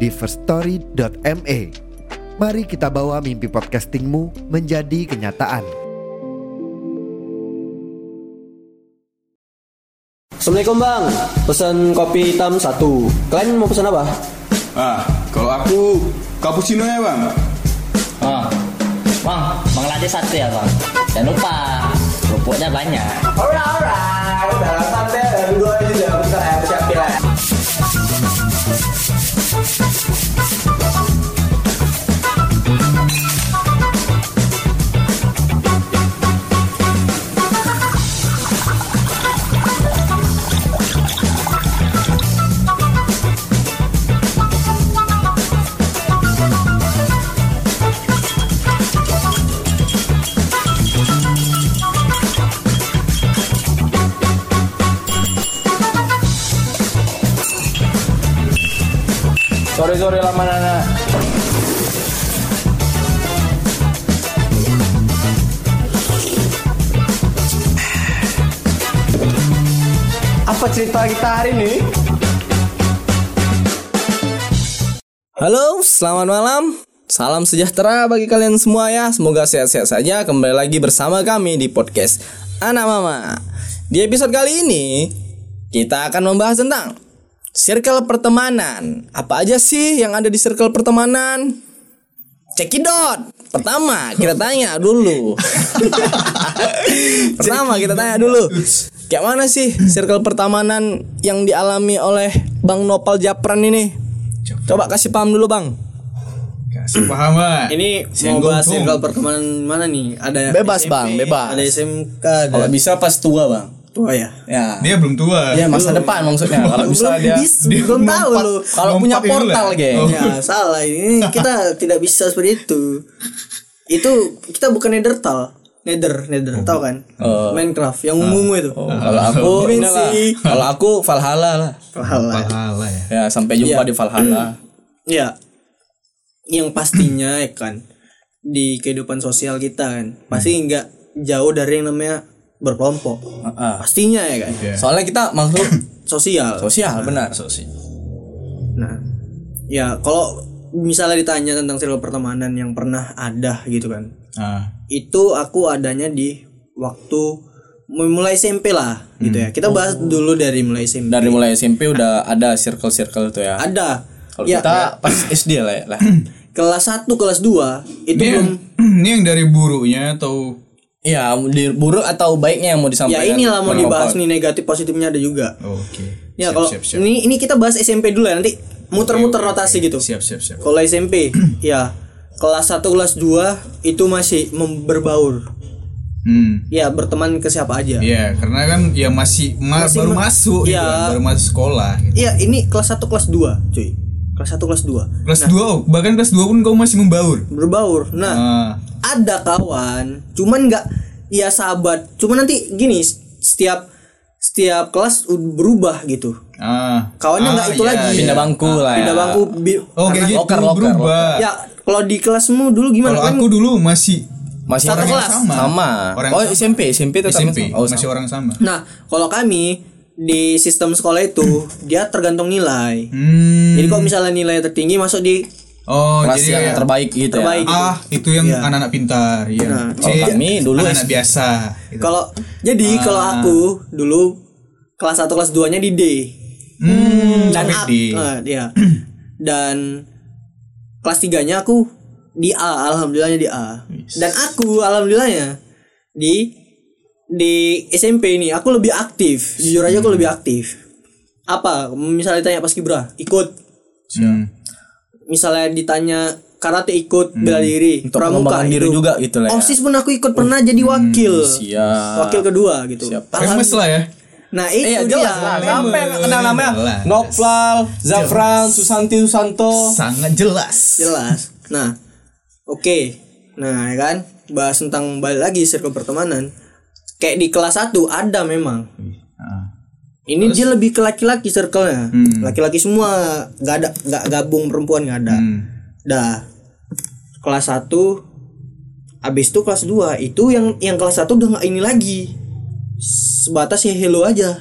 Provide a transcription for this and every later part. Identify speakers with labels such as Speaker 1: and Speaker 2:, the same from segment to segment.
Speaker 1: di firststory.me. Mari kita bawa mimpi podcastingmu menjadi kenyataan.
Speaker 2: Assalamualaikum bang, pesan kopi hitam satu. Kalian mau pesan apa?
Speaker 3: Ah, kalau aku cappuccino ya bang.
Speaker 4: Bang, Oh. bang, bang latte satu ya bang. Jangan lupa, kerupuknya banyak.
Speaker 2: Ora ora, udah santai dan gue juga bisa eh, siap lah. Sorry sorry lama nana. Apa cerita kita hari ini?
Speaker 5: Halo, selamat malam. Salam sejahtera bagi kalian semua ya. Semoga sehat-sehat saja. Kembali lagi bersama kami di podcast Anak Mama. Di episode kali ini kita akan membahas tentang circle pertemanan. Apa aja sih yang ada di circle pertemanan? Cekidot. Pertama, kita tanya dulu. Pertama, kita tanya dulu. Kayak mana sih circle pertemanan yang dialami oleh Bang Nopal Japran ini? Coba kasih paham dulu, Bang.
Speaker 3: Kasih paham bang.
Speaker 2: Ini mau bahas circle pertemanan mana nih? Ada
Speaker 5: Bebas, Bang, bebas.
Speaker 2: Ada SMK, ada
Speaker 5: Kalau bisa pas tua, Bang.
Speaker 2: tua ya.
Speaker 5: Ya.
Speaker 3: Dia belum tua.
Speaker 5: Ya masa depan maksudnya. Kalau
Speaker 3: Belum
Speaker 5: bisa dia,
Speaker 3: bis- dia
Speaker 5: belum tahu
Speaker 3: lompat-
Speaker 5: lu. Kalau punya
Speaker 3: lompat itu
Speaker 5: portal,
Speaker 3: lah.
Speaker 5: geng.
Speaker 3: Oh.
Speaker 5: Ya.
Speaker 2: Ya salah ini kita tidak bisa seperti itu. Itu kita bukan Nethertal, Nether, Nether tahu kan?
Speaker 5: Oh.
Speaker 2: Minecraft yang ungu itu. Ah,
Speaker 5: Oh, kalau aku inilah. Kalau aku Valhalla lah.
Speaker 2: Salah.
Speaker 3: Alah ya.
Speaker 5: Ya, sampai jumpa
Speaker 2: Iya.
Speaker 5: di
Speaker 3: Iya.
Speaker 5: Valhalla.
Speaker 2: Ya. Yang pastinya ya kan di kehidupan sosial kita kan pasti
Speaker 5: Hmm.
Speaker 2: nggak jauh dari yang namanya berkelompok.
Speaker 5: Heeh.
Speaker 2: Pastinya ya kan.
Speaker 5: Ah, Soalnya kita makhluk
Speaker 2: Sosial.
Speaker 5: sosial, benar. Sosial.
Speaker 2: Nah, ya kalau misalnya ditanya tentang circle pertemanan yang pernah ada gitu kan.
Speaker 3: Ah,
Speaker 2: itu aku adanya di waktu mulai SMP lah gitu ya.
Speaker 5: Hmm.
Speaker 2: Kita bahas dulu dari mulai SMP.
Speaker 5: Dari mulai SMP udah ada circle-circle itu ya.
Speaker 2: Ada.
Speaker 5: Kalau
Speaker 2: ya,
Speaker 5: kita pas SD lah ya. lah.
Speaker 2: kelas 1, kelas 2 itu
Speaker 3: Ini
Speaker 5: Iya.
Speaker 3: yang,
Speaker 2: belum
Speaker 3: ini yang dari buruknya atau
Speaker 5: Ya, di- buruk atau baiknya yang mau
Speaker 2: ya
Speaker 5: disampaikan.
Speaker 2: inilah mau
Speaker 5: Bang
Speaker 2: dibahas
Speaker 5: Nopal.
Speaker 2: nih negatif positifnya ada juga.
Speaker 3: Oh, oke.
Speaker 2: Ya
Speaker 3: Siap,
Speaker 2: kalau
Speaker 3: siap, siap.
Speaker 2: ini ini kita bahas SMP dulu ya nanti muter-muter
Speaker 3: Oke, oke,
Speaker 2: rotasi
Speaker 3: oke.
Speaker 2: gitu.
Speaker 3: Siap siap siap.
Speaker 2: Kalau SMP ya kelas 1, kelas 2 itu masih mem- berbaur.
Speaker 3: Hmm.
Speaker 2: Ya berteman ke siapa aja.
Speaker 3: Iya, karena kan ya masih ma-
Speaker 2: Masih
Speaker 3: baru
Speaker 2: ma-
Speaker 3: masuk
Speaker 2: Iya.
Speaker 3: gitu kan, baru masuk sekolah gitu.
Speaker 2: Iya, ini kelas 1, kelas 2, cuy. Kelas 1, kelas 2
Speaker 3: Kelas 2 oh, bahkan kelas 2 pun kau masih membaur.
Speaker 2: berbaur. Nah,
Speaker 3: Ah,
Speaker 2: ada kawan cuman nggak ya sahabat cuman nanti gini setiap setiap kelas u- berubah gitu
Speaker 3: ah.
Speaker 2: Kawannya
Speaker 3: Ah,
Speaker 2: nggak itu
Speaker 3: iya,
Speaker 2: lagi.
Speaker 3: iya.
Speaker 5: pindah bangku lah ya.
Speaker 2: pindah bangku bi-
Speaker 3: Oh, kayak gitu
Speaker 5: Loker, loker,
Speaker 3: berubah.
Speaker 2: ya kalau di kelasmu dulu gimana
Speaker 3: Kalau
Speaker 2: kan
Speaker 3: aku dulu masih
Speaker 5: Masih
Speaker 2: Satu
Speaker 5: orang yang
Speaker 2: kelas.
Speaker 5: sama.
Speaker 3: Orang
Speaker 5: oh,
Speaker 3: yang sama.
Speaker 5: SMP, SMP tetap
Speaker 3: SMP,
Speaker 5: Oh,
Speaker 3: masih
Speaker 5: sama.
Speaker 3: orang sama.
Speaker 2: nah kalau kami di sistem sekolah itu dia tergantung nilai
Speaker 3: Hmm.
Speaker 2: jadi kalau misalnya nilai tertinggi masuk di
Speaker 3: Oh,
Speaker 5: kelas
Speaker 3: jadi
Speaker 5: yang
Speaker 3: kayak
Speaker 5: terbaik gitu
Speaker 2: Terbaik.
Speaker 5: ya.
Speaker 3: Ah, itu yang
Speaker 2: Iya.
Speaker 3: anak-anak pintar, ya.
Speaker 2: Nah,
Speaker 5: kalau kami dulu
Speaker 3: anak-anak
Speaker 5: S-
Speaker 3: biasa. gitu. Ah.
Speaker 2: kalau jadi kalau aku dulu kelas 1 kelas 2 nya di D
Speaker 3: Iya. hmm,
Speaker 2: dan
Speaker 3: tapi
Speaker 2: A- eh,
Speaker 3: di
Speaker 2: iya. dan kelas 3-nya aku di A alhamdulillahnya di A dan aku alhamdulillahnya di di SMP ini aku lebih aktif jujur aja
Speaker 5: Hmm.
Speaker 2: aku lebih aktif apa misalnya ditanya pas kibra ikut
Speaker 3: Hmm.
Speaker 2: misalnya ditanya karate ikut bela diri
Speaker 5: Hmm. Untuk pengembangan diri
Speaker 2: ikut.
Speaker 5: juga gitu lah ya.
Speaker 2: osis pun aku ikut pernah jadi wakil
Speaker 5: siap.
Speaker 2: wakil kedua gitu
Speaker 5: Siap.
Speaker 2: Alham-
Speaker 3: famous lah ya.
Speaker 6: Nah itu
Speaker 5: Iya,
Speaker 6: dia.
Speaker 5: jelas lah.
Speaker 7: Siapa yang nggak kenal namanya?
Speaker 3: Jelas.
Speaker 7: Noplal, Zafran,
Speaker 3: Jelas.
Speaker 7: Susanti, Susanto.
Speaker 3: Sangat jelas.
Speaker 6: Jelas. Nah, oke. Nah, ya kan bahas tentang balik lagi circle pertemanan. Kayak di kelas 1 ada memang. Ini dia lebih ke laki-laki circle-nya. Laki-laki semua, gak ada gak gabung perempuan gak ada. Dah. Kelas 1 habis itu kelas 2 itu yang yang kelas 1 udah gak ini lagi. Sebatas ya hello aja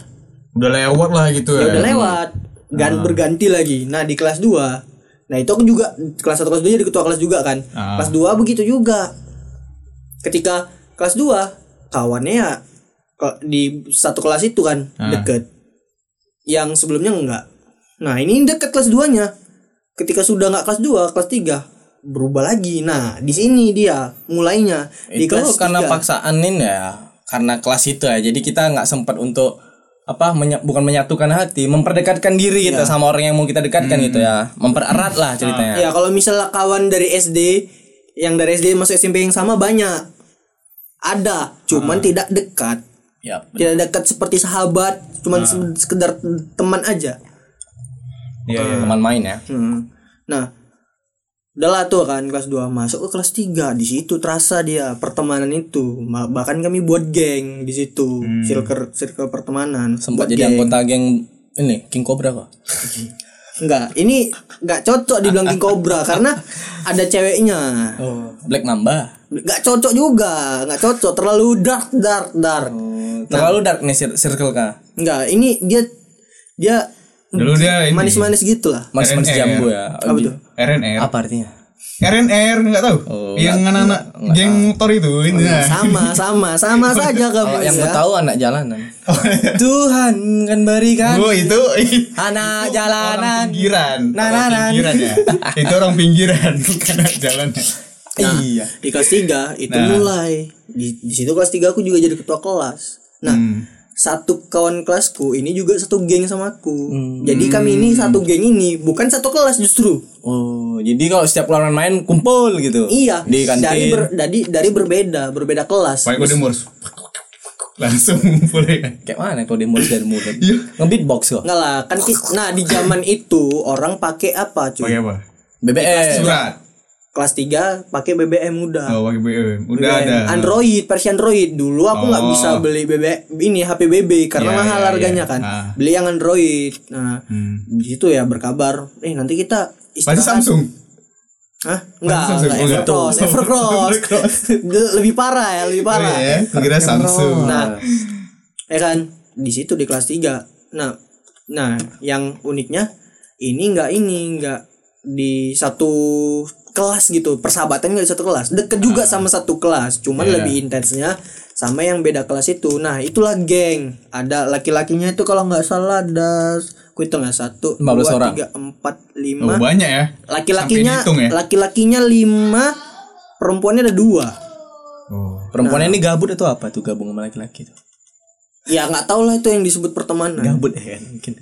Speaker 3: Udah lewat lah gitu ya.
Speaker 6: ya udah lewat gan berganti lagi nah di kelas 2 nah itu aku juga kelas 1 kelas 2 jadi ketua kelas juga kan
Speaker 3: Ah.
Speaker 6: kelas 2 begitu juga ketika kelas 2 kawannya ya ke- di satu kelas itu kan
Speaker 3: Ah.
Speaker 6: deket yang sebelumnya enggak nah ini deket kelas 2 nya ketika sudah enggak kelas 2 kelas 3 berubah lagi nah di sini dia mulainya di
Speaker 5: itu
Speaker 6: kelas
Speaker 5: karena
Speaker 6: 3.
Speaker 5: paksaanin ya karena kelas itu ya jadi kita nggak sempat untuk apa menya- bukan menyatukan hati memperdekatkan diri kita sama orang yang mau kita dekatkan gitu ya mempererat lah ceritanya
Speaker 6: Ya kalau misalnya kawan dari SD yang dari SD masuk SMP yang sama banyak ada,
Speaker 5: Hmm.
Speaker 6: cuman tidak dekat,
Speaker 5: Yap.
Speaker 6: tidak dekat seperti sahabat, cuman
Speaker 5: Hmm.
Speaker 6: se- sekedar teman aja.
Speaker 3: Iya, iya.
Speaker 5: teman main ya
Speaker 6: Hmm. Nah, udahlah tuh kan kelas 2 masuk ke kelas 3 di situ terasa dia pertemanan itu Ma- bahkan kami buat geng di situ circle circle pertemanan
Speaker 5: Hmm. sempat
Speaker 6: Buat
Speaker 5: jadi
Speaker 6: geng.
Speaker 5: anggota geng ini King Cobra kok
Speaker 6: enggak ini enggak cocok dibilang king cobra karena ada ceweknya
Speaker 5: Black Mamba
Speaker 6: Gak cocok juga, gak cocok, terlalu dark, dark, dark.
Speaker 5: terlalu dark nih cir- circle kah
Speaker 6: Enggak, ini dia dia
Speaker 3: Dulu dia ini.
Speaker 6: manis-manis gitu lah.
Speaker 5: Mas Mas
Speaker 3: RNR.
Speaker 5: Jambu ya
Speaker 6: Apa tuh?
Speaker 3: RNR.
Speaker 5: apa Oh, artinya
Speaker 3: RNR nggak tahu. yang anak-anak geng motor itu
Speaker 5: Oh,
Speaker 3: ini.
Speaker 5: iya,
Speaker 3: nah.
Speaker 6: Sama, sama, sama saja kamu
Speaker 5: kalau Oh, yang
Speaker 6: ya.
Speaker 5: mau tahu anak jalanan Tuhan kan berikan
Speaker 3: Oh itu orang
Speaker 5: anak jalanan
Speaker 3: pinggiran.
Speaker 5: Nah,
Speaker 3: Orang
Speaker 5: nah, nah.
Speaker 3: pinggiran ya. itu orang pinggiran bukan anak jalan. ya.
Speaker 6: Nah,
Speaker 5: iya Nah.
Speaker 6: di kelas 3 itu mulai. Di, di situ kelas 3 aku juga jadi ketua kelas. Nah,
Speaker 3: Hmm.
Speaker 5: Hmm.
Speaker 6: satu kawan kelasku ini juga satu geng sama aku.
Speaker 5: Hmm.
Speaker 6: Jadi kami ini satu geng ini, bukan satu kelas justru.
Speaker 5: Oh, jadi kalau setiap lawan main kumpul gitu.
Speaker 6: Iya,
Speaker 5: Di kantin.
Speaker 6: dari ber, dari dari berbeda, berbeda kelas.
Speaker 3: Pakai kode Morse. Langsung mulai.
Speaker 5: Kayak mana kalau dia mulai dari mulut?
Speaker 3: Iya.
Speaker 5: Ngebeatbox kok.
Speaker 6: Enggak lah, kan ki- nah di zaman itu orang pakai apa cuy?
Speaker 3: Pakai apa?
Speaker 5: BBM.
Speaker 3: Surat.
Speaker 6: Kelas 3 pakai BBM udah.
Speaker 3: Oh, pakai BBM. Udah
Speaker 6: BBM.
Speaker 3: ada.
Speaker 6: Android, versi Android. Dulu aku nggak
Speaker 3: Oh.
Speaker 6: bisa beli BBM ini HP BB karena
Speaker 3: Iya,
Speaker 6: mahal
Speaker 3: iya,
Speaker 6: harganya
Speaker 3: iya.
Speaker 6: kan.
Speaker 3: Ah.
Speaker 6: Beli yang Android. Nah,
Speaker 3: Hmm.
Speaker 6: di situ ya berkabar, eh nanti kita
Speaker 3: Pasti Samsung.
Speaker 6: Hah? Enggak,
Speaker 3: Samsung,
Speaker 6: enggak,
Speaker 3: enggak.
Speaker 6: Evercross,
Speaker 3: Oh.
Speaker 6: Evercross.
Speaker 3: Evercross.
Speaker 6: lebih parah ya, lebih parah.
Speaker 3: Oh, iya, aku kira Samsung.
Speaker 6: Nah, ya kan di situ di kelas 3. Nah, nah yang uniknya ini enggak ini enggak di satu kelas gitu. Persahabatan enggak di satu kelas. Deket juga sama satu kelas,
Speaker 3: Ah.
Speaker 6: cuman
Speaker 3: Iya.
Speaker 6: lebih intensnya sama yang beda kelas itu. Nah, itulah geng. Ada laki-lakinya itu kalau nggak salah ada aku hitung ya 1
Speaker 5: 15 orang.
Speaker 6: 3 4
Speaker 3: Oh,
Speaker 6: 5
Speaker 3: banyak ya.
Speaker 6: laki-lakinya
Speaker 3: Sampai dihitung ya.
Speaker 6: laki-lakinya 5 perempuannya ada 2.
Speaker 3: Oh.
Speaker 5: Perempuan ini gabut atau apa tuh gabung sama laki-laki tuh?
Speaker 6: Ya nggak tau lah itu yang disebut pertemanan.
Speaker 5: Gabut ya kan mungkin.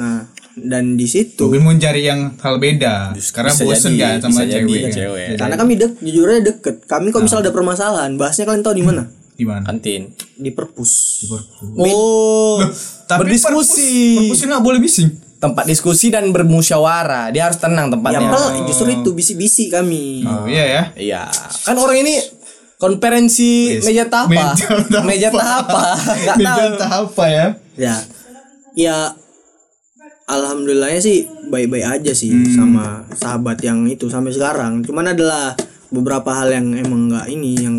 Speaker 6: Nah, dan di situ
Speaker 3: Mungkin mau cari yang hal beda. Karena
Speaker 5: bisa
Speaker 3: bosen
Speaker 5: jadi,
Speaker 3: kan sama
Speaker 5: bisa jadi,
Speaker 3: cewek. kan.
Speaker 5: cewek.
Speaker 3: Jadi,
Speaker 6: karena kami dek jujurnya deket. Kami kalau misalnya ada permasalahan, bahasnya kalian tahu di mana?
Speaker 3: Gimana?
Speaker 5: Kantin.
Speaker 6: Di perpus.
Speaker 5: Oh,
Speaker 3: Tapi
Speaker 5: berdiskusi.
Speaker 3: perpus- Perpusnya nggak boleh bising.
Speaker 5: tempat diskusi dan bermusyawarah. Dia harus tenang
Speaker 6: Ya,
Speaker 5: tempatnya.
Speaker 6: pel- justru itu bisi-bisi kami.
Speaker 3: Oh, iya ya.
Speaker 5: Iya. Kan orang ini konferensi
Speaker 3: Yes.
Speaker 5: meja tapa.
Speaker 3: Meja tapa.
Speaker 5: Meja tapa. Enggak
Speaker 3: Meja
Speaker 5: tahu.
Speaker 3: tahap apa ya?
Speaker 6: Ya. Ya alhamdulillahnya sih baik-baik aja sih sama sahabat yang itu sampai sekarang. Cuman adalah beberapa hal yang emang nggak ini yang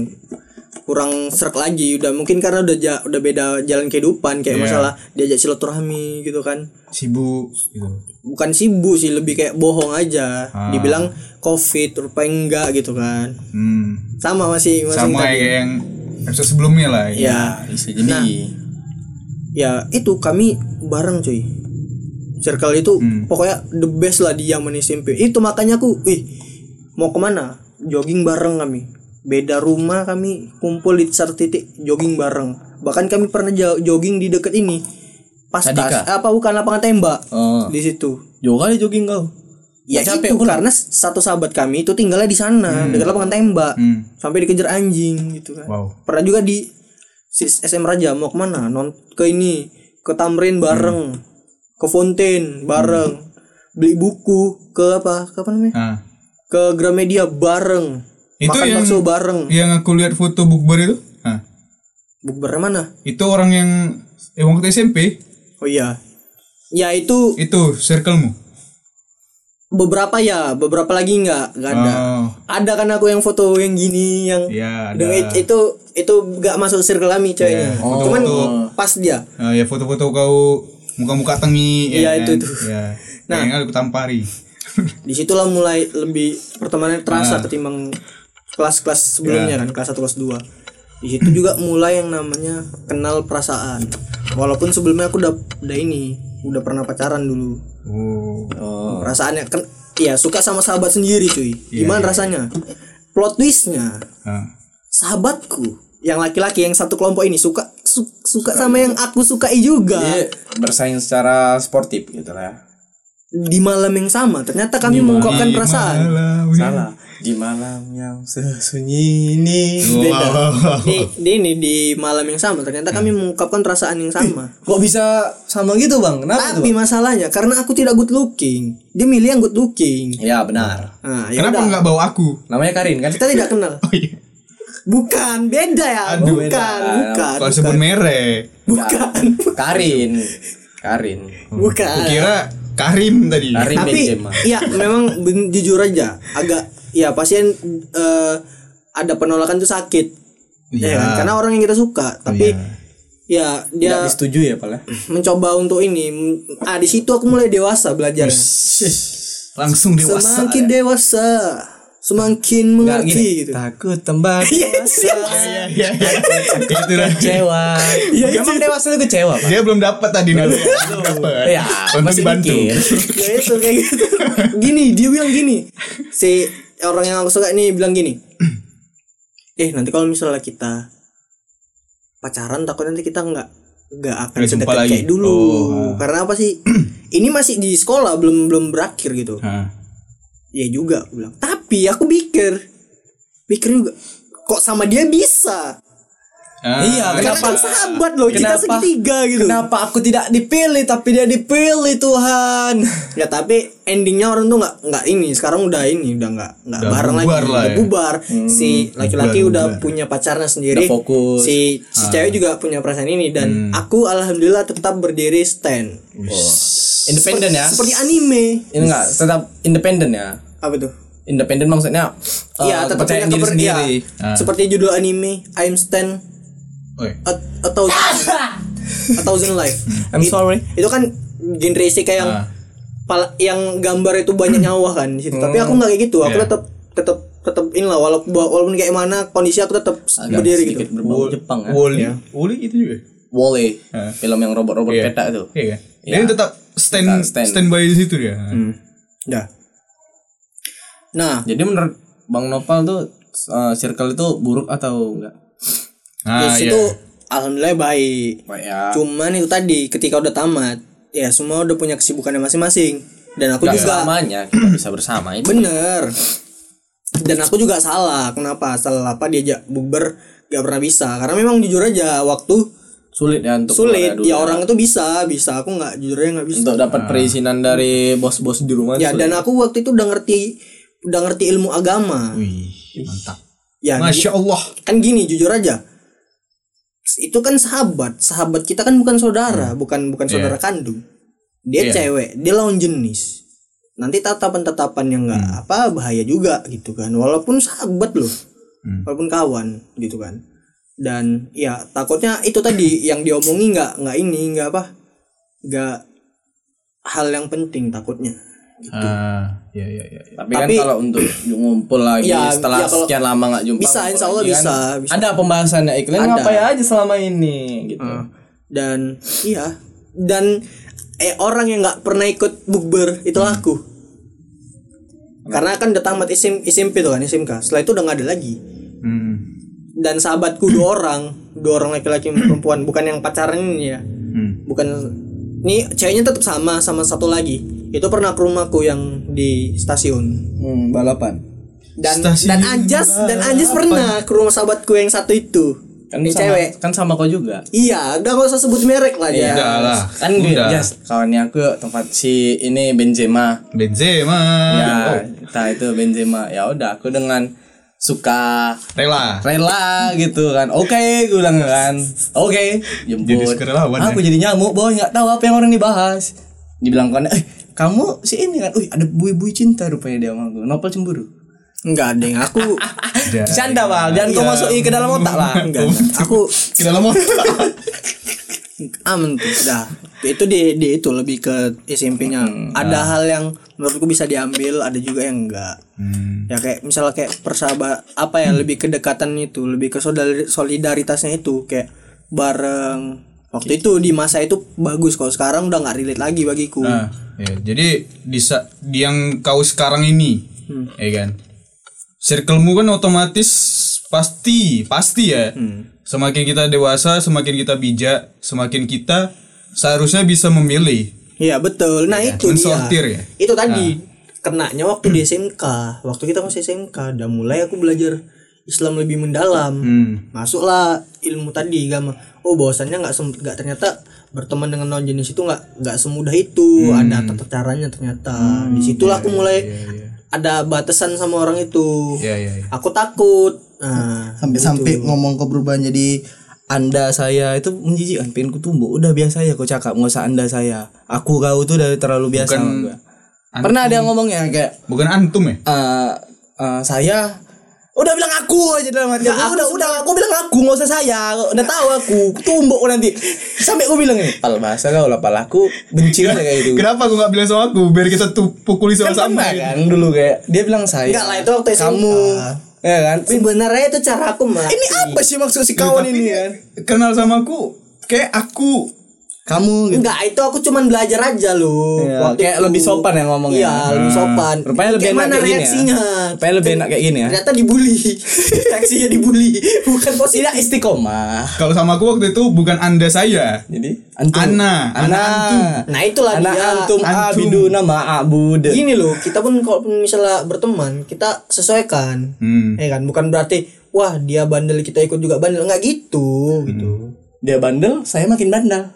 Speaker 6: kurang serak lagi udah mungkin karena udah ja- udah beda jalan kehidupan
Speaker 3: Iya.
Speaker 6: kayak Ya, masalah diajak silaturahmi gitu kan
Speaker 3: Sibuk gitu.
Speaker 6: bukan sibuk sih lebih kayak bohong aja
Speaker 3: Ah.
Speaker 6: dibilang covid rupanya enggak gitu kan
Speaker 3: Hmm.
Speaker 6: sama masih masih
Speaker 3: Sama
Speaker 6: tadi.
Speaker 3: kayak yang episode sebelumnya lah.
Speaker 6: ya
Speaker 5: Bisa iya. jadi.
Speaker 6: Nah. ya itu kami bareng cuy circle itu
Speaker 5: Hmm.
Speaker 6: pokoknya the best lah di zaman SMP itu makanya aku ih mau kemana jogging bareng kami beda rumah kami kumpul di satu titik jogging bareng bahkan kami pernah jo- jogging di deket ini pastas
Speaker 5: Tadika?
Speaker 6: apa bukan lapangan tembak
Speaker 5: Oh.
Speaker 6: di situ
Speaker 5: Jauh kali jogging kau.
Speaker 6: Ya
Speaker 5: Nggak capek
Speaker 6: itu
Speaker 5: pula.
Speaker 6: karena satu sahabat kami itu tinggalnya di sana dekat lapangan tembak sampai dikejar anjing gitu
Speaker 3: Hmm.
Speaker 6: kan.
Speaker 3: Wow.
Speaker 6: Pernah juga di si- SM Raja mau kemana non ke ini ke Tamrin
Speaker 3: Hmm.
Speaker 6: bareng, ke Fontaine bareng, beli buku ke apa? Ke apa namanya?
Speaker 3: Nah,
Speaker 6: Ke Gramedia bareng.
Speaker 3: Itu
Speaker 6: makan
Speaker 3: yang-
Speaker 6: bakso bareng.
Speaker 3: yang aku lihat foto bukber itu, nah,
Speaker 6: Bukber mana?
Speaker 3: itu orang yang eh waktu SMP
Speaker 6: Oh iya. Ya itu
Speaker 3: itu circlemu.
Speaker 6: beberapa ya, beberapa lagi nggak nggak ada.
Speaker 3: Oh,
Speaker 6: Ada kan aku yang foto yang gini yang
Speaker 3: iya ada.
Speaker 6: dengan it- itu itu nggak masuk circle kami ceweknya.
Speaker 3: Iya, foto-foto.
Speaker 6: Cuman pas dia.
Speaker 3: Ah, ya foto-foto kau muka-muka tengi.
Speaker 6: Iya, itu- itu.
Speaker 3: Ya.
Speaker 6: Nah.
Speaker 3: Nah, aku tampari.
Speaker 6: disitulah mulai lebih pertemanannya terasa
Speaker 3: Nah.
Speaker 6: ketimbang kelas-kelas
Speaker 3: Iya.
Speaker 6: sebelumnya kan kelas 1 kelas 2 di situ juga mulai yang namanya kenal perasaan walaupun sebelumnya aku udah udah ini udah pernah pacaran dulu
Speaker 3: Oh. Iya,
Speaker 6: perasaannya kan ya suka sama sahabat sendiri cuy gimana rasanya plot twistnya
Speaker 3: Ah.
Speaker 6: sahabatku yang laki-laki yang satu kelompok ini suka su- suka sama yang aku sukai juga
Speaker 3: Iya.
Speaker 5: Jadi bersaing secara sportif gitu lah. ya.
Speaker 6: di malam yang sama ternyata kami mengungkapkan
Speaker 3: Di
Speaker 6: kan perasaan
Speaker 3: malam yang-
Speaker 5: Salah. Di malam yang sesunyi ini.
Speaker 6: beda di,
Speaker 3: Oh.
Speaker 6: di ini di malam yang sama ternyata kami
Speaker 3: Hmm.
Speaker 6: mengungkapkan perasaan
Speaker 3: Eh,
Speaker 6: yang sama
Speaker 5: Kok bisa sama gitu bang? Kenapa
Speaker 6: tapi
Speaker 5: tuh? Bang?
Speaker 6: masalahnya karena aku tidak good looking dia milih yang good looking
Speaker 5: Ya benar.
Speaker 6: nah ya
Speaker 3: Kenapa
Speaker 6: udah.
Speaker 3: nggak bawa aku?
Speaker 5: Namanya Karin kan?
Speaker 6: kita tidak kenal
Speaker 3: Oh iya.
Speaker 6: bukan beda ya
Speaker 3: Aduh,
Speaker 6: bukan
Speaker 5: beda.
Speaker 6: bukan
Speaker 3: Kalau sebut merek.
Speaker 6: bukan
Speaker 5: Karin. Karin.
Speaker 6: bukan
Speaker 3: Kira Karim tadi.
Speaker 5: Karin
Speaker 6: tapi
Speaker 5: Benzema.
Speaker 6: ya memang ben- jujur aja agak ya pasien eh, ada penolakan tuh sakit
Speaker 3: Iya.
Speaker 6: ya
Speaker 3: Oh,
Speaker 6: kan? karena orang yang kita suka tapi ya dia
Speaker 5: Tidak disetujui ya pala.
Speaker 6: mencoba untuk ini M- ah di situ aku mulai dewasa belajar
Speaker 3: Langsung dewasa. ya.
Speaker 6: semakin dewasa semakin
Speaker 5: Nggak,
Speaker 6: mengerti
Speaker 5: gini.
Speaker 6: gitu
Speaker 5: Takut tembak dewasa.
Speaker 3: Iya, iya. Itu dah.
Speaker 5: kecewa. Emang dewasa Iya, itu kecewa pak?
Speaker 3: Dia belum dapat tadi nih.
Speaker 5: Ya,
Speaker 3: Untuk
Speaker 5: masih
Speaker 3: dibantu.
Speaker 5: mikir.
Speaker 6: ya itu kayak gitu gini dia bilang gini si orang yang aku suka ini bilang gini eh nanti kalau misalnya kita pacaran takut nanti kita nggak nggak akan
Speaker 3: Nggak jumpa
Speaker 6: sedekat
Speaker 3: lagi.
Speaker 6: kayak dulu
Speaker 3: Oh, ah.
Speaker 6: karena apa sih ini masih di sekolah belum belum berakhir gitu
Speaker 3: Ah.
Speaker 6: ya juga aku bilang tapi aku pikir pikir juga kok sama dia bisa
Speaker 3: Ah.
Speaker 5: Iya, kenapa?
Speaker 6: Kenapa sahabat loh kita
Speaker 5: Kenapa?
Speaker 6: segitiga gitu.
Speaker 5: Kenapa aku tidak dipilih tapi dia dipilih Tuhan?
Speaker 6: Ya tapi endingnya orang tuh nggak nggak ini sekarang udah ini udah nggak nggak
Speaker 3: Udah
Speaker 6: bareng lagi
Speaker 3: bubar lah
Speaker 6: udah
Speaker 3: ya.
Speaker 6: bubar si laki-laki
Speaker 3: bubar,
Speaker 6: udah
Speaker 3: bubar. Ah.
Speaker 6: punya pacarnya
Speaker 5: Hmm.
Speaker 6: sendiri
Speaker 5: Udah fokus.
Speaker 6: si si cewek juga punya perasaan ini
Speaker 3: Hmm.
Speaker 6: dan aku alhamdulillah tetap berdiri stand
Speaker 5: Independen ya.
Speaker 6: seperti anime
Speaker 5: Ini enggak tetap independen ya.
Speaker 6: apa tuh
Speaker 5: Independen maksudnya eh,
Speaker 6: Iya tetap
Speaker 5: kepercayaan
Speaker 6: punya
Speaker 5: diri
Speaker 6: keper- ya,
Speaker 5: sendiri.
Speaker 3: Ah.
Speaker 6: seperti judul anime I'm stand
Speaker 3: Oi.
Speaker 6: a, a thousand a thousand life
Speaker 5: I'm sorry.
Speaker 6: itu kan genre sih kayak yang
Speaker 3: Ah.
Speaker 6: pala- yang gambar itu banyak nyawa kan di situ. Tapi aku nggak kayak gitu. Aku
Speaker 3: Iya.
Speaker 6: tetap tetap tetap inilah walaupun walaupun kayak mana kondisi aku tetap
Speaker 5: Agak
Speaker 6: berdiri
Speaker 5: sedikit
Speaker 6: gitu.
Speaker 5: berbau Jepang ya.
Speaker 3: Woli. Woli itu juga.
Speaker 5: Wall-E,
Speaker 3: Ah.
Speaker 5: film yang robot-robot
Speaker 3: Iya.
Speaker 5: petak itu.
Speaker 3: Iya.
Speaker 5: Iya.
Speaker 3: Dia tetap stand
Speaker 5: Tetap stand. Hmm.
Speaker 3: standby di situ dia.
Speaker 6: Dah. Nah,
Speaker 5: Jadi menurut Bang Nopal tuh eh, circle itu buruk atau enggak?
Speaker 3: Ah,
Speaker 6: di situ alhamdulillah baik.
Speaker 5: Ya.
Speaker 6: Cuman itu tadi ketika udah tamat, ya semua udah punya kesibukannya masing-masing. Dan aku
Speaker 5: Enggak
Speaker 6: juga
Speaker 5: selamanya kita bisa bersama itu.
Speaker 6: bener. Dan aku juga salah. Kenapa? Salah apa diajak bukber gak pernah bisa. Karena memang jujur aja waktu
Speaker 5: Sulit ya untuk
Speaker 6: sulit.
Speaker 5: keluar
Speaker 6: Ya
Speaker 5: dulu
Speaker 6: orang itu bisa, bisa. Aku nggak jujur aja nggak bisa.
Speaker 5: untuk dapat perizinan dari bos-bos di rumah.
Speaker 6: Ya
Speaker 5: sulit.
Speaker 6: dan aku waktu itu udah ngerti udah ngerti ilmu agama.
Speaker 3: Wih, mantap.
Speaker 5: Iya.
Speaker 6: Ya
Speaker 3: Masya Allah.
Speaker 6: kan gini jujur aja. Itu kan sahabat. Sahabat kita kan bukan saudara, bukan bukan saudara kandung. Dia
Speaker 3: Iya.
Speaker 6: cewek, dia lawan jenis. Nanti tatapan-tatapan yang enggak apa bahaya juga gitu kan. Walaupun sahabat loh. Walaupun kawan gitu kan. Dan ya takutnya itu tadi yang diomongi nggak nggak ini nggak apa nggak hal yang penting takutnya.
Speaker 3: Ah, ya ya ya. ya.
Speaker 5: Tapi,
Speaker 6: Tapi-
Speaker 5: kan kalau untuk ngumpul lagi
Speaker 6: Ya,
Speaker 5: setelah
Speaker 6: ya kalau-
Speaker 5: sekian lama nggak jumpa.
Speaker 6: Bisa,
Speaker 5: ngumpul
Speaker 6: insya Allah
Speaker 5: lagi kan?
Speaker 6: bisa, bisa.
Speaker 5: Ada pembahasannya iklan
Speaker 6: Ada.
Speaker 5: ngapain aja selama ini gitu.
Speaker 6: dan iya dan eh orang yang nggak pernah ikut bukber itu aku
Speaker 3: Hmm.
Speaker 6: karena kan udah tamat SM, SMP tuh kan SMK setelah itu udah nggak ada lagi
Speaker 3: Hmm.
Speaker 6: dan sahabatku dua orang dua orang laki-laki dan perempuan bukan yang pacaran ini ya
Speaker 3: Hmm.
Speaker 6: bukan ini ceweknya tetap sama sama satu lagi itu pernah ke rumahku yang di stasiun
Speaker 5: Hmm, balapan.
Speaker 6: dan
Speaker 3: Stasiun
Speaker 6: dan Anjas dan Anjas pernah ke rumah sahabatku yang satu itu
Speaker 5: Kan
Speaker 6: Ini
Speaker 5: sama,
Speaker 6: cewek.
Speaker 5: Kan sama kau juga.
Speaker 6: Iya, udah gak usah sebut merek lah ya. dia.
Speaker 3: Udah Iya lah.
Speaker 5: Kan
Speaker 3: udah.
Speaker 5: dia kawannya aku tempat si ini Benzema.
Speaker 3: Benzema. Oh,
Speaker 5: Ya,
Speaker 3: Hmm,
Speaker 5: nah itu Benzema. Ya udah aku dengan suka
Speaker 3: Rela.
Speaker 5: rela gitu kan oke gue bilang kan oke jemput
Speaker 3: Jadi suka relawan,
Speaker 5: aku
Speaker 3: ya?
Speaker 5: jadi nyamuk boy nggak tahu apa yang orang dibahas dibilang kan eh kamu si ini kan uh ada bui-bui cinta rupanya dia sama gue nopal cemburu
Speaker 6: Enggak, Deng. Aku
Speaker 5: bercanda bal jangan kau
Speaker 3: Iya.
Speaker 5: masukin ke dalam otak lah
Speaker 6: enggak. enggak. Aku
Speaker 3: Kita lama.
Speaker 6: aman tuh. Dah. Itu di, di itu lebih ke SMP-nya. Ada hal yang menurutku bisa diambil, ada juga yang enggak.
Speaker 3: Hmm.
Speaker 6: Ya kayak misalnya kayak persahabat apa ya lebih kedekatan itu, lebih ke solidar- solidaritasnya itu kayak bareng Waktu itu di masa itu bagus kalau sekarang udah nggak relate lagi bagiku.
Speaker 3: Nah, ya, jadi di sa- di yang kau sekarang ini, ya kan. Circlemu kan otomatis pasti, pasti ya. Semakin kita dewasa, semakin kita bijak, semakin kita seharusnya bisa memilih.
Speaker 6: Iya betul. Nah itu
Speaker 3: Mensortir ya?
Speaker 6: dia. Itu tadi
Speaker 3: Ah.
Speaker 6: kenanya waktu di SMK. Waktu kita masih SMK, udah mulai aku belajar Islam lebih mendalam.
Speaker 3: Hmm.
Speaker 6: Masuklah ilmu tadi agama. Oh bahwasannya nggak sem- nggak ternyata berteman dengan non jenis itu nggak nggak semudah itu.
Speaker 3: Hmm.
Speaker 6: Ada tata caranya ternyata. Disitulah aku mulai ada batasan sama orang itu.
Speaker 3: Iya, iya, iya.
Speaker 6: Aku takut. Nah,
Speaker 5: sampai-sampai ngomong kau perubahan jadi anda saya itu menjijikkan pengen ku tumbuh udah biasa ya kau cakap nggak usah anda saya aku kau tuh udah terlalu biasa sama gua. pernah ada yang ngomongnya kayak
Speaker 3: Bukan antum ya?
Speaker 5: eh eh, saya udah bilang aku aja dalam hati aku, udah udah aku bilang aku nggak usah saya udah tahu aku tumbuk aku nanti sampai aku bilang ini pal bahasa kau lah pal aku benci aja kayak gitu
Speaker 3: Kenapa aku nggak bilang sama aku biar kita tuh pukuli
Speaker 5: kan
Speaker 3: sama-sama?
Speaker 5: pernah
Speaker 3: gitu.
Speaker 5: kan dulu kayak dia bilang saya
Speaker 6: Enggak lah, itu waktu SMK.
Speaker 5: kamu ya kan
Speaker 6: sebenarnya itu cara aku melatih.
Speaker 5: ini apa sih maksud si kawan
Speaker 3: Tapi
Speaker 5: ini
Speaker 3: dia
Speaker 5: kan
Speaker 3: kenal sama aku kayak aku
Speaker 5: kamu gitu
Speaker 6: Enggak, itu aku cuman belajar aja loh.
Speaker 5: Iya,
Speaker 6: Waktu
Speaker 5: kayak lebih sopan ya ngomongnya.
Speaker 6: Iya, lebih sopan.
Speaker 5: Rupanya lebih
Speaker 6: Kayak
Speaker 5: enak
Speaker 6: mana
Speaker 5: kayak gini ya?
Speaker 6: reaksinya?
Speaker 5: Rupanya lebih enak kayak gini ya?
Speaker 6: Ternyata dibully. reaksinya dibully, bukan positif.
Speaker 5: tidak Iya, istiqomah
Speaker 3: kalau sama aku waktu itu bukan anda saya
Speaker 5: jadi antum
Speaker 3: Ana.
Speaker 5: ana
Speaker 3: Ana antum.
Speaker 6: Nah, itulah
Speaker 5: ana
Speaker 6: dia.
Speaker 5: antum
Speaker 3: Antum.
Speaker 5: abiduna ma'abud
Speaker 6: Gini loh, kita pun kalau misalnya berteman, kita sesuaikan.
Speaker 3: Hmm.
Speaker 6: Ya kan, bukan berarti wah dia bandel kita ikut juga bandel, enggak gitu
Speaker 3: Hmm.
Speaker 6: gitu.
Speaker 5: dia bandel saya makin bandel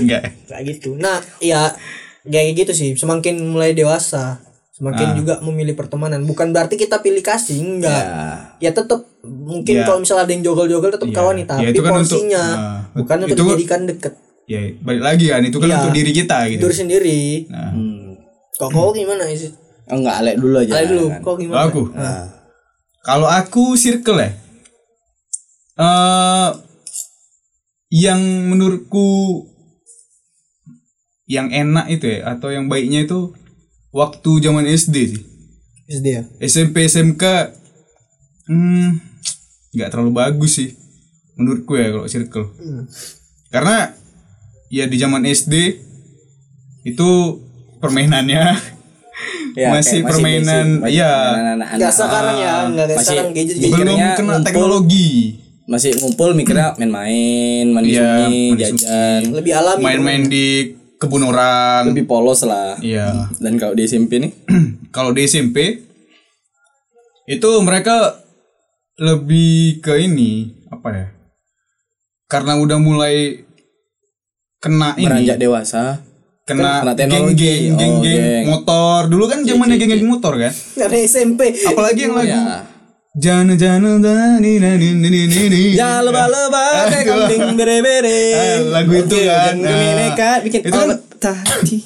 Speaker 3: enggak
Speaker 6: Enggak gitu. Nah, ya kayak gitu sih, semakin mulai dewasa,
Speaker 3: Ah.
Speaker 6: semakin juga memilih pertemanan. Bukan berarti kita pilih kasih, enggak. ya tetap mungkin
Speaker 3: Ya.
Speaker 6: kalau misalnya ada yang jogal-jogal tetap
Speaker 3: Ya.
Speaker 6: kawan nih
Speaker 3: Ya,
Speaker 6: tapi
Speaker 3: itu kan untuk-
Speaker 6: porsinya
Speaker 3: nah,
Speaker 6: bukan untuk
Speaker 3: itu-
Speaker 6: dijadikan deket
Speaker 3: ya balik lagi kan itu kan
Speaker 6: Iya.
Speaker 3: untuk diri kita gitu
Speaker 6: tidur sendiri Hmm.
Speaker 3: nah,
Speaker 6: kok kau gimana sih
Speaker 5: enggak alek dulu
Speaker 3: Ya,
Speaker 5: aja
Speaker 6: Ayo dulu
Speaker 5: kan.
Speaker 6: kau
Speaker 3: kalau
Speaker 6: gimana
Speaker 3: aku Ah. kalau aku circle ya eh yang menurutku yang enak itu ya atau yang baiknya itu waktu zaman SD sih
Speaker 6: SD ya
Speaker 3: SMP SMK hmm, nggak terlalu bagus sih menurutku ya kalau circle
Speaker 5: Hmm.
Speaker 3: karena ya di zaman SD itu permainannya
Speaker 5: Ya,
Speaker 3: masih
Speaker 5: kayak
Speaker 3: permainan
Speaker 5: basic, masih
Speaker 3: ya
Speaker 5: permainan anak-anak. Ah,
Speaker 6: nggak sekarang ya nggak kayak
Speaker 5: masih-
Speaker 6: sekarang gadget
Speaker 5: Belum.
Speaker 6: gadget
Speaker 3: belum
Speaker 5: Mikirnya
Speaker 3: kena
Speaker 5: ngumpul.
Speaker 3: teknologi
Speaker 5: masih ngumpul mikirnya main-main mandi
Speaker 3: Iya,
Speaker 5: sunyi
Speaker 3: mandi
Speaker 5: jajan
Speaker 3: sunyi.
Speaker 6: lebih alami
Speaker 3: main-main di kebun orang
Speaker 5: lebih Hmm. polos lah
Speaker 3: Iya.
Speaker 5: dan kalau di SMP nih
Speaker 3: kalau di SMP itu mereka lebih ke ini apa ya karena udah mulai kena ini
Speaker 5: beranjak dewasa
Speaker 3: kena
Speaker 5: kena
Speaker 3: geng
Speaker 5: teknologi.
Speaker 3: geng
Speaker 5: Oh,
Speaker 3: geng geng
Speaker 5: geng. Iya,
Speaker 3: motor dulu kan zamannya geng geng motor kan
Speaker 6: dari SMP
Speaker 3: apalagi yang lagu
Speaker 5: ya
Speaker 3: jana jana da, ni, na, ni, ni, ni, ni, ni.
Speaker 5: ya leba-leba kayak kambing bere-bere
Speaker 3: Ah, lagu itu
Speaker 5: Eh, Oke,
Speaker 3: kan,
Speaker 5: jangan
Speaker 3: nah.
Speaker 5: kemeneka, bikin
Speaker 3: Itu kan-
Speaker 5: awet tadi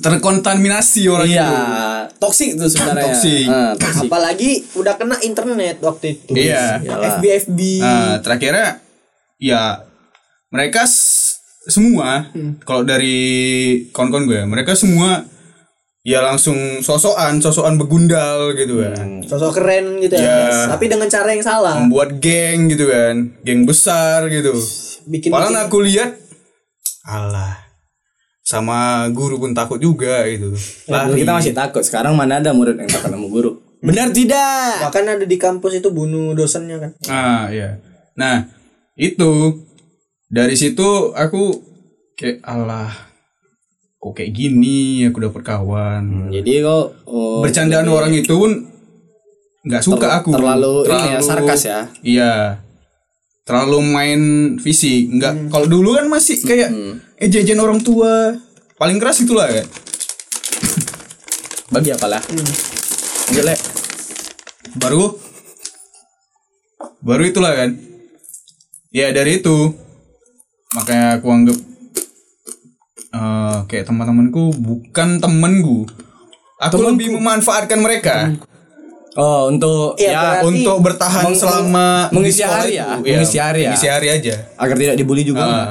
Speaker 3: terkontaminasi orang
Speaker 5: iya
Speaker 3: itu
Speaker 5: toksik tuh sebenarnya
Speaker 3: Toksik.
Speaker 5: Ah, toksik.
Speaker 6: apalagi udah kena internet waktu itu
Speaker 3: Iya.
Speaker 6: FB FB
Speaker 3: Nah, terakhirnya ya mereka s- semua
Speaker 5: Hmm.
Speaker 3: kalau dari kawan-kawan gue, mereka semua ya langsung sosokan, sosokan begundal gitu
Speaker 5: Hmm.
Speaker 3: kan.
Speaker 6: sosok keren gitu ya
Speaker 3: Iya.
Speaker 6: tapi dengan cara yang salah
Speaker 3: Membuat geng gitu kan, geng besar gitu.
Speaker 6: bikin
Speaker 3: Padahal
Speaker 6: bikin-
Speaker 3: aku lihat Allah sama guru pun takut juga gitu.
Speaker 5: Lah, dulu kita masih takut. Sekarang mana ada murid yang takut sama guru? Benar tidak?
Speaker 6: bahkan ada di kampus itu bunuh dosennya kan
Speaker 3: Ah ya. Nah itu dari situ aku kayak Allah kok kayak gini aku dapat kawan.
Speaker 5: Jadi kok Hmm. oh,
Speaker 3: Bercandaan orang itu pun nggak suka
Speaker 5: Terla-
Speaker 3: aku.
Speaker 5: terlalu ini ya, sarkas ya?
Speaker 3: Iya. terlalu main fisik nggak
Speaker 5: Hmm.
Speaker 3: kalau dulu kan masih kayak ejen-ejen orang tua paling keras itulah kan
Speaker 5: Bagi apalah. Jelek.
Speaker 3: baru baru itulah kan ya dari itu makanya aku anggap eh, kayak teman-temanku bukan temenku aku lebih memanfaatkan mereka
Speaker 5: Oh, untuk
Speaker 6: Iya,
Speaker 5: ya
Speaker 6: berarti-
Speaker 3: untuk bertahan
Speaker 5: meng-
Speaker 3: selama di
Speaker 5: mengisi
Speaker 3: sekolah
Speaker 5: hari
Speaker 3: itu. Iya,
Speaker 5: ya? Mengisi hari ya? Hmm.
Speaker 3: mengisi hari aja
Speaker 5: agar tidak dibully juga.
Speaker 3: Ah.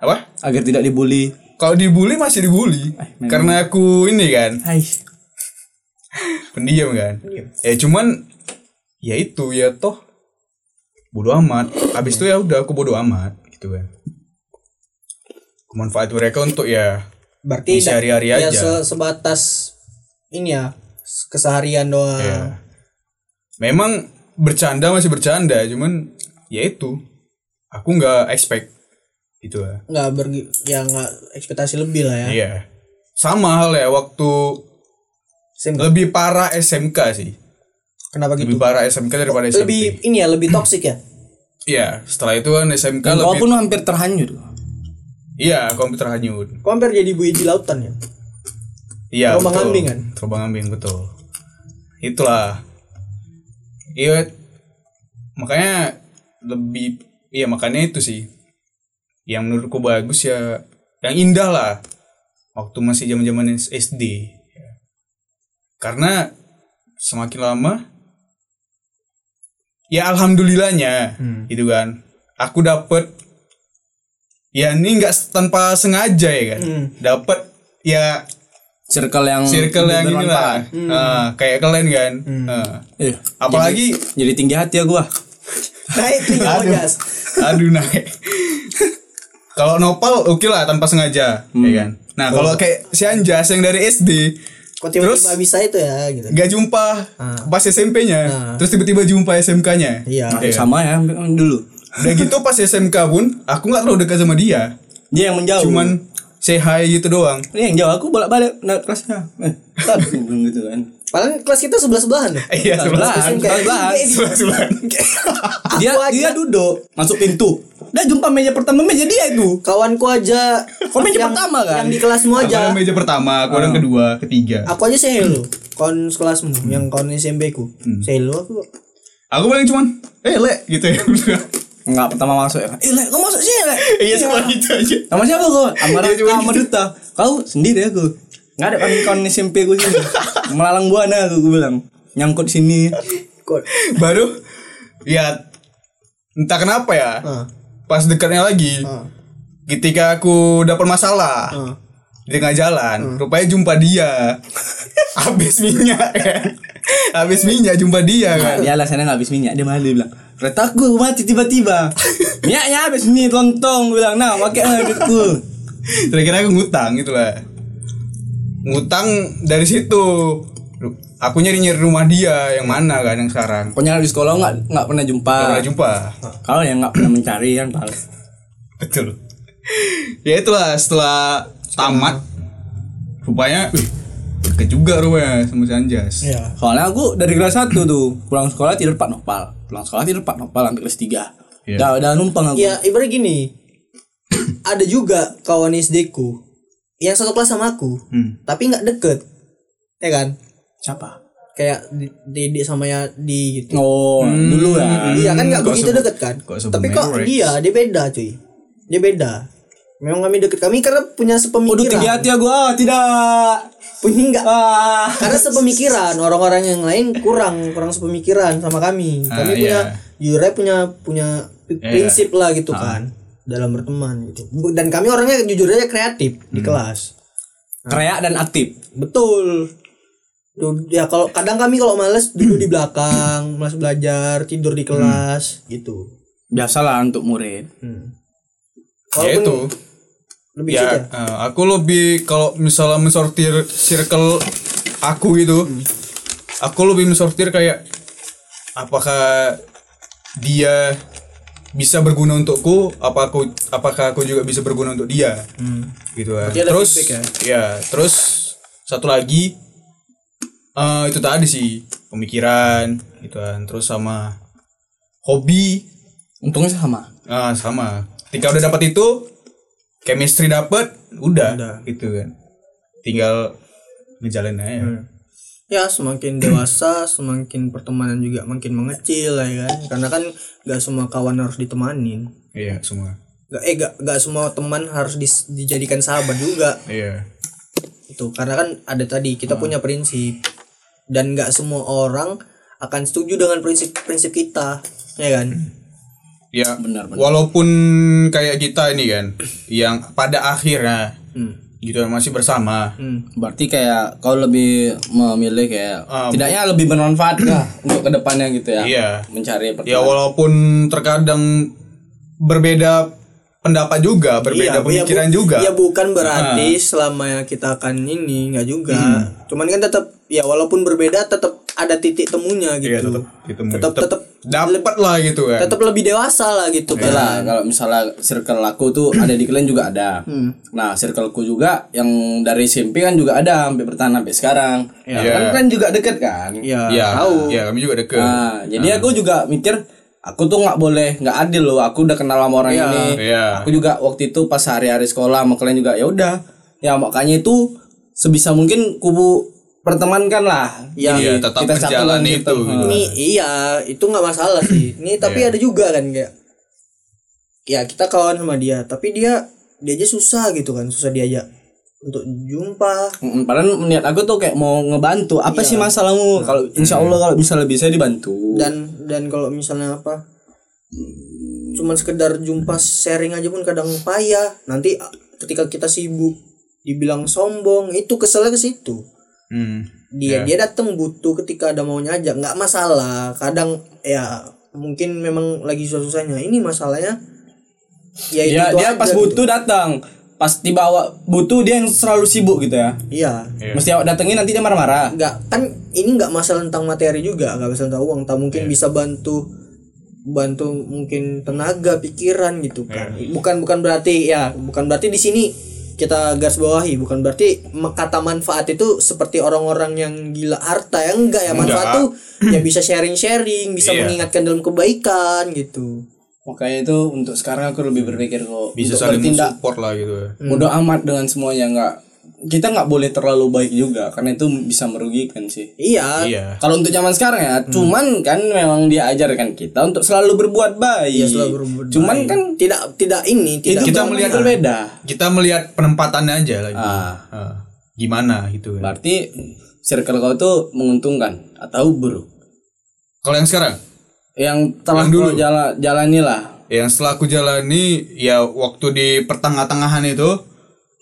Speaker 3: apa
Speaker 5: Agar tidak dibully.
Speaker 3: kalau dibully masih
Speaker 5: Eh,
Speaker 3: dibully karena aku ini kan
Speaker 5: Hai.
Speaker 3: pendiam kan ya cuman ya itu ya toh bodoh amat habis itu ya udah aku bodoh amat gitu kan Aku manfaat mereka untuk ya
Speaker 6: berarti
Speaker 3: Bisa hari-hari aja.
Speaker 6: ya se- sebatas ini ya s- keseharian doang
Speaker 3: ya memang bercanda masih bercanda cuman ya itu aku nggak expect gitu lah
Speaker 6: nggak ber ya nggak ekspektasi lebih lah ya
Speaker 3: iya sama hal ya waktu
Speaker 6: Sim-
Speaker 3: lebih parah SMK sih
Speaker 6: kenapa gitu
Speaker 3: lebih parah SMK daripada SMP
Speaker 6: lebih ini ya lebih toksik ya
Speaker 3: Iya, setelah itu kan SMK
Speaker 5: Kau
Speaker 3: lebih
Speaker 5: pun hampir terhanyut.
Speaker 3: Iya, komputer hanyut.
Speaker 6: kau hampir jadi bu Iji lautan ya
Speaker 3: Iya,
Speaker 6: Terombang
Speaker 3: betul.
Speaker 6: ambing kan?
Speaker 3: Terombang ambing betul. Itulah. Iya. Makanya lebih iya makanya itu sih. Yang menurutku bagus ya yang indah lah. Waktu masih zaman-zaman SD. Karena semakin lama ya alhamdulillahnya gitu kan. Aku dapet ya ini nggak tanpa sengaja ya kan. Dapat ya
Speaker 5: Circle yang
Speaker 3: circle yang ini lah
Speaker 5: bermanfaat.
Speaker 3: Ah, kayak kalian kan Ah.
Speaker 5: Iya.
Speaker 3: apalagi
Speaker 5: Jadi tinggi hati ya gua.
Speaker 6: naik tiga jas
Speaker 3: aduh naik kalau nopal oke lah tanpa sengaja ya kan nah kalau kayak si Anjas yang dari SD
Speaker 6: kok tiba-tiba
Speaker 3: Terus?
Speaker 6: bisa itu ya gitu
Speaker 3: nggak jumpa pas SMP-nya terus tiba-tiba jumpa SMK-nya
Speaker 6: Iya.
Speaker 5: Sama ya hampir- dulu.
Speaker 3: udah kan? gitu pas SMK pun aku nggak terlalu dekat sama dia
Speaker 5: Dia yang menjauh.
Speaker 3: cuman say hi gitu doang
Speaker 5: Ini yang jauh aku bolak-balik naik kelasnya. Eh, tar, gitu kan.
Speaker 6: Padahal kelas kita sebelah sebelahan ya.
Speaker 3: iya sebelah
Speaker 5: Sebelahan, sebelahan.
Speaker 3: sebelah sebelah
Speaker 5: Dia dia duduk masuk pintu. Dia jumpa meja pertama meja dia itu.
Speaker 6: Kawanku aja.
Speaker 5: Kau meja pertama, kan?
Speaker 6: Yang di kelasmu aja.
Speaker 3: Aku meja pertama aku orang kedua ketiga
Speaker 6: Aku aja say hello. Kawan sekelasmu, yang kawan SMP ku. Say hello aku.
Speaker 3: aku paling cuman eh le gitu ya
Speaker 5: Enggak pertama masuk ya. Eh, Lek, kau masuk sini, Lek.
Speaker 3: Iya cuma gitu aja.
Speaker 5: Nama siapa kau? Amara
Speaker 3: Iya, cuma
Speaker 5: Ahmad Duta. Kau sendiri aku. Enggak ada kawan-kawan SMP ku sini. Melalang buana aku, ku bilang. Nyangkut sini.
Speaker 3: Baru ya entah kenapa ya. Pas dekatnya lagi. Ketika aku dapat masalah di tengah jalan, rupanya jumpa dia. Habis minyak kan. Habis minyak jumpa dia kan.
Speaker 5: Dia alasannya enggak habis minyak, dia malu dia bilang. Kereta aku mati tiba-tiba. Minyaknya habis nih tontong bilang. Nah, pakai lah duitku.
Speaker 3: Kira-kira aku ngutang gitu lah. Ngutang dari situ. Lu- Aku nyari-nyari rumah dia yang mana kan yang sekarang.
Speaker 5: Pokoknya di sekolah enggak enggak pernah jumpa.
Speaker 3: Gak pernah jumpa.
Speaker 5: Kalau yang enggak pernah mencari kan, Pak.
Speaker 3: Betul. ya itulah setelah tamat rupanya wih, deket juga rupanya sama si Anjas.
Speaker 6: Iya.
Speaker 5: Soalnya aku dari kelas 1 tuh pulang sekolah tidur pak nopal, pulang sekolah tidur pak nopal sampai kelas 3
Speaker 3: Iya.
Speaker 5: Udah udah numpang aku.
Speaker 6: Ya, ibarat gini. ada juga kawan SD ku yang satu kelas sama aku, tapi nggak deket. Ya kan?
Speaker 5: Siapa?
Speaker 6: Kayak di- Dede sama ya di gitu.
Speaker 5: Oh, dulu
Speaker 3: Hmm.
Speaker 5: ya.
Speaker 6: Iya kan nggak
Speaker 3: kok
Speaker 6: begitu
Speaker 3: sebut-
Speaker 6: deket kan?
Speaker 3: kok sebut
Speaker 6: Tapi kok
Speaker 3: merek?
Speaker 6: dia dia beda cuy. Dia beda. Memang kami deket kami karena punya
Speaker 5: Waduh
Speaker 6: sepemikiran.
Speaker 5: tinggi hati aku ah tidak.
Speaker 6: punya nggak
Speaker 5: Ah.
Speaker 6: karena sepemikiran orang-orang yang lain kurang kurang sepemikiran sama kami kami
Speaker 3: Ah,
Speaker 6: punya
Speaker 3: iya. Ah.
Speaker 6: jure punya punya pi- prinsip lah gitu kan dalam berteman gitu Bu- dan kami orangnya jujur aja kreatif di
Speaker 3: Hmm.
Speaker 6: kelas
Speaker 5: Kreak dan aktif.
Speaker 6: betul Du- ya kalau kadang kami kalau males duduk di belakang males belajar tidur di kelas
Speaker 3: Hmm.
Speaker 6: gitu
Speaker 5: Biasalah untuk murid.
Speaker 3: Ya itu.
Speaker 6: lebih
Speaker 3: Ya,
Speaker 6: sedikit
Speaker 3: eh, aku lebih kalau misalnya mensortir circle aku gitu,
Speaker 6: Hmm.
Speaker 3: aku lebih mensortir kayak apakah dia bisa berguna untukku, apa aku apakah aku juga bisa berguna untuk dia, gitu kan.
Speaker 6: Hmm. ada
Speaker 3: Terus,
Speaker 6: feedback
Speaker 3: ya? terus satu lagi eh, itu tadi sih pemikiran, gitu kan. Terus sama hobi,
Speaker 5: untungnya sama
Speaker 3: Ah, sama. Ketika udah dapat itu, chemistry dapat, udah, gitu kan. Tinggal ngejalanin aja.
Speaker 6: ya semakin dewasa semakin pertemanan juga makin mengecil ya kan karena kan gak semua kawan harus ditemanin
Speaker 3: Iya, semua.
Speaker 6: gak eh gak, gak semua teman harus dis- dijadikan sahabat juga
Speaker 3: Iya.
Speaker 6: itu karena kan ada tadi
Speaker 3: Hmm.
Speaker 6: kita punya prinsip dan nggak semua orang akan setuju dengan prinsip-prinsip kita ya kan
Speaker 3: Hmm. Ya, benar, Walaupun kayak kita ini kan, yang pada akhirnya gitu masih bersama.
Speaker 5: Hmm. berarti kayak kau lebih memilih kayak
Speaker 3: Ah,
Speaker 5: tidaknya lebih bermanfaat lah untuk kedepannya gitu ya
Speaker 3: Iya.
Speaker 5: mencari pertemanan
Speaker 3: Ya walaupun terkadang berbeda pendapat juga, berbeda
Speaker 6: Iya, bu-
Speaker 3: pemikiran
Speaker 6: bu-
Speaker 3: juga. Hmm.
Speaker 6: ya bukan berarti selama kita akan ini nggak juga cuman kan tetap ya walaupun berbeda tetap ada titik temunya gitu
Speaker 3: Iya, tetap ditemui.
Speaker 6: tetap tetap
Speaker 3: dapat lah gitu kan.
Speaker 6: tetap lebih dewasa lah gitu
Speaker 3: Iya.
Speaker 5: Oke
Speaker 6: kan
Speaker 5: lah, Nah, kalau misalnya circle aku tuh ada di kalian juga ada.
Speaker 3: Hmm.
Speaker 5: Nah, circleku juga yang dari SMP kan juga ada sampai bertahan sampai sekarang. Nah,
Speaker 3: Iya.
Speaker 5: Kan kan juga deket kan.
Speaker 3: Iya, iya, kami juga deket.
Speaker 5: Nah, jadi aku juga mikir aku tuh nggak boleh nggak adil loh. Aku udah kenal sama orang ini.
Speaker 3: Iya.
Speaker 5: Aku juga waktu itu pas hari-hari sekolah sama kalian juga ya udah. Ya makanya itu sebisa mungkin kubu pertemankan lah.
Speaker 3: Iya,
Speaker 5: Jadi
Speaker 3: tetap
Speaker 5: satu
Speaker 3: menjalani
Speaker 5: lanjutan.
Speaker 3: itu, gitu. Iya.
Speaker 6: ini iya itu nggak masalah sih ini tapi ada juga kan kayak ya kita kawan sama dia tapi dia dia aja susah gitu kan susah diajak untuk jumpa
Speaker 5: Mm, Padahal niat aku tuh kayak mau ngebantu. Apa
Speaker 3: Iya.
Speaker 5: sih
Speaker 3: Nah.
Speaker 5: masalahmu? Kalau insya Allah kalau bisa lebih saya dibantu.
Speaker 6: dan dan kalau misalnya apa cuman sekedar jumpa sharing aja pun kadang payah nanti a- ketika kita sibuk dibilang sombong itu keselnya ke situ
Speaker 3: Hmm.
Speaker 5: Ya.
Speaker 6: dia dia datang butuh ketika ada maunya aja nggak masalah kadang ya mungkin memang lagi susah-susahnya ini masalahnya ya itu
Speaker 3: Iya,
Speaker 5: Dia,
Speaker 6: itu
Speaker 5: dia
Speaker 6: aja
Speaker 5: pas
Speaker 6: gitu.
Speaker 5: butuh datang. Pas tiba awak butuh dia yang selalu sibuk gitu ya.
Speaker 6: iya
Speaker 5: Mesti awak datengin nanti dia marah-marah.
Speaker 6: nggak kan ini nggak masalah tentang materi juga nggak masalah tentang uang tak mungkin
Speaker 3: Iya.
Speaker 6: bisa bantu bantu mungkin tenaga pikiran gitu kan
Speaker 3: Iya,
Speaker 6: bukan bukan berarti ya bukan berarti di sini kita garis bawahi bukan berarti me- kata manfaat itu seperti orang-orang yang gila harta ya enggak ya
Speaker 3: Enggak.
Speaker 6: manfaat tuh ya bisa sharing sharing bisa
Speaker 3: Iya.
Speaker 6: mengingatkan dalam kebaikan gitu
Speaker 5: Makanya itu untuk sekarang aku lebih berpikir kok
Speaker 3: Hmm. Bisa
Speaker 5: untuk
Speaker 3: saling
Speaker 5: bertindak
Speaker 3: support lah gitu. ya.
Speaker 5: bodoh amat dengan semuanya nggak kita nggak boleh terlalu baik juga karena itu bisa merugikan sih.
Speaker 6: iya
Speaker 3: Iya.
Speaker 5: Kalau untuk zaman sekarang ya,
Speaker 3: Hmm.
Speaker 5: cuman kan memang dia ajarkan kita untuk selalu berbuat
Speaker 3: Iya,
Speaker 5: baik.
Speaker 6: selalu berbuat
Speaker 5: cuman kan
Speaker 6: tidak tidak ini
Speaker 5: itu
Speaker 6: tidak
Speaker 3: Kita
Speaker 5: kita
Speaker 3: melihat-
Speaker 5: melihat berbeda.
Speaker 3: Kita melihat penempatannya aja lagi.
Speaker 5: Ah.
Speaker 3: Ah. Gimana gitu kan.
Speaker 5: Berarti circle kau tuh menguntungkan atau buruk?
Speaker 3: Kalau yang sekarang,
Speaker 5: Yang
Speaker 3: Yang
Speaker 5: telah
Speaker 3: dulu.
Speaker 5: kau jala- jalani lah.
Speaker 3: yang setelah aku jalani ya waktu di pertengah-tengahan itu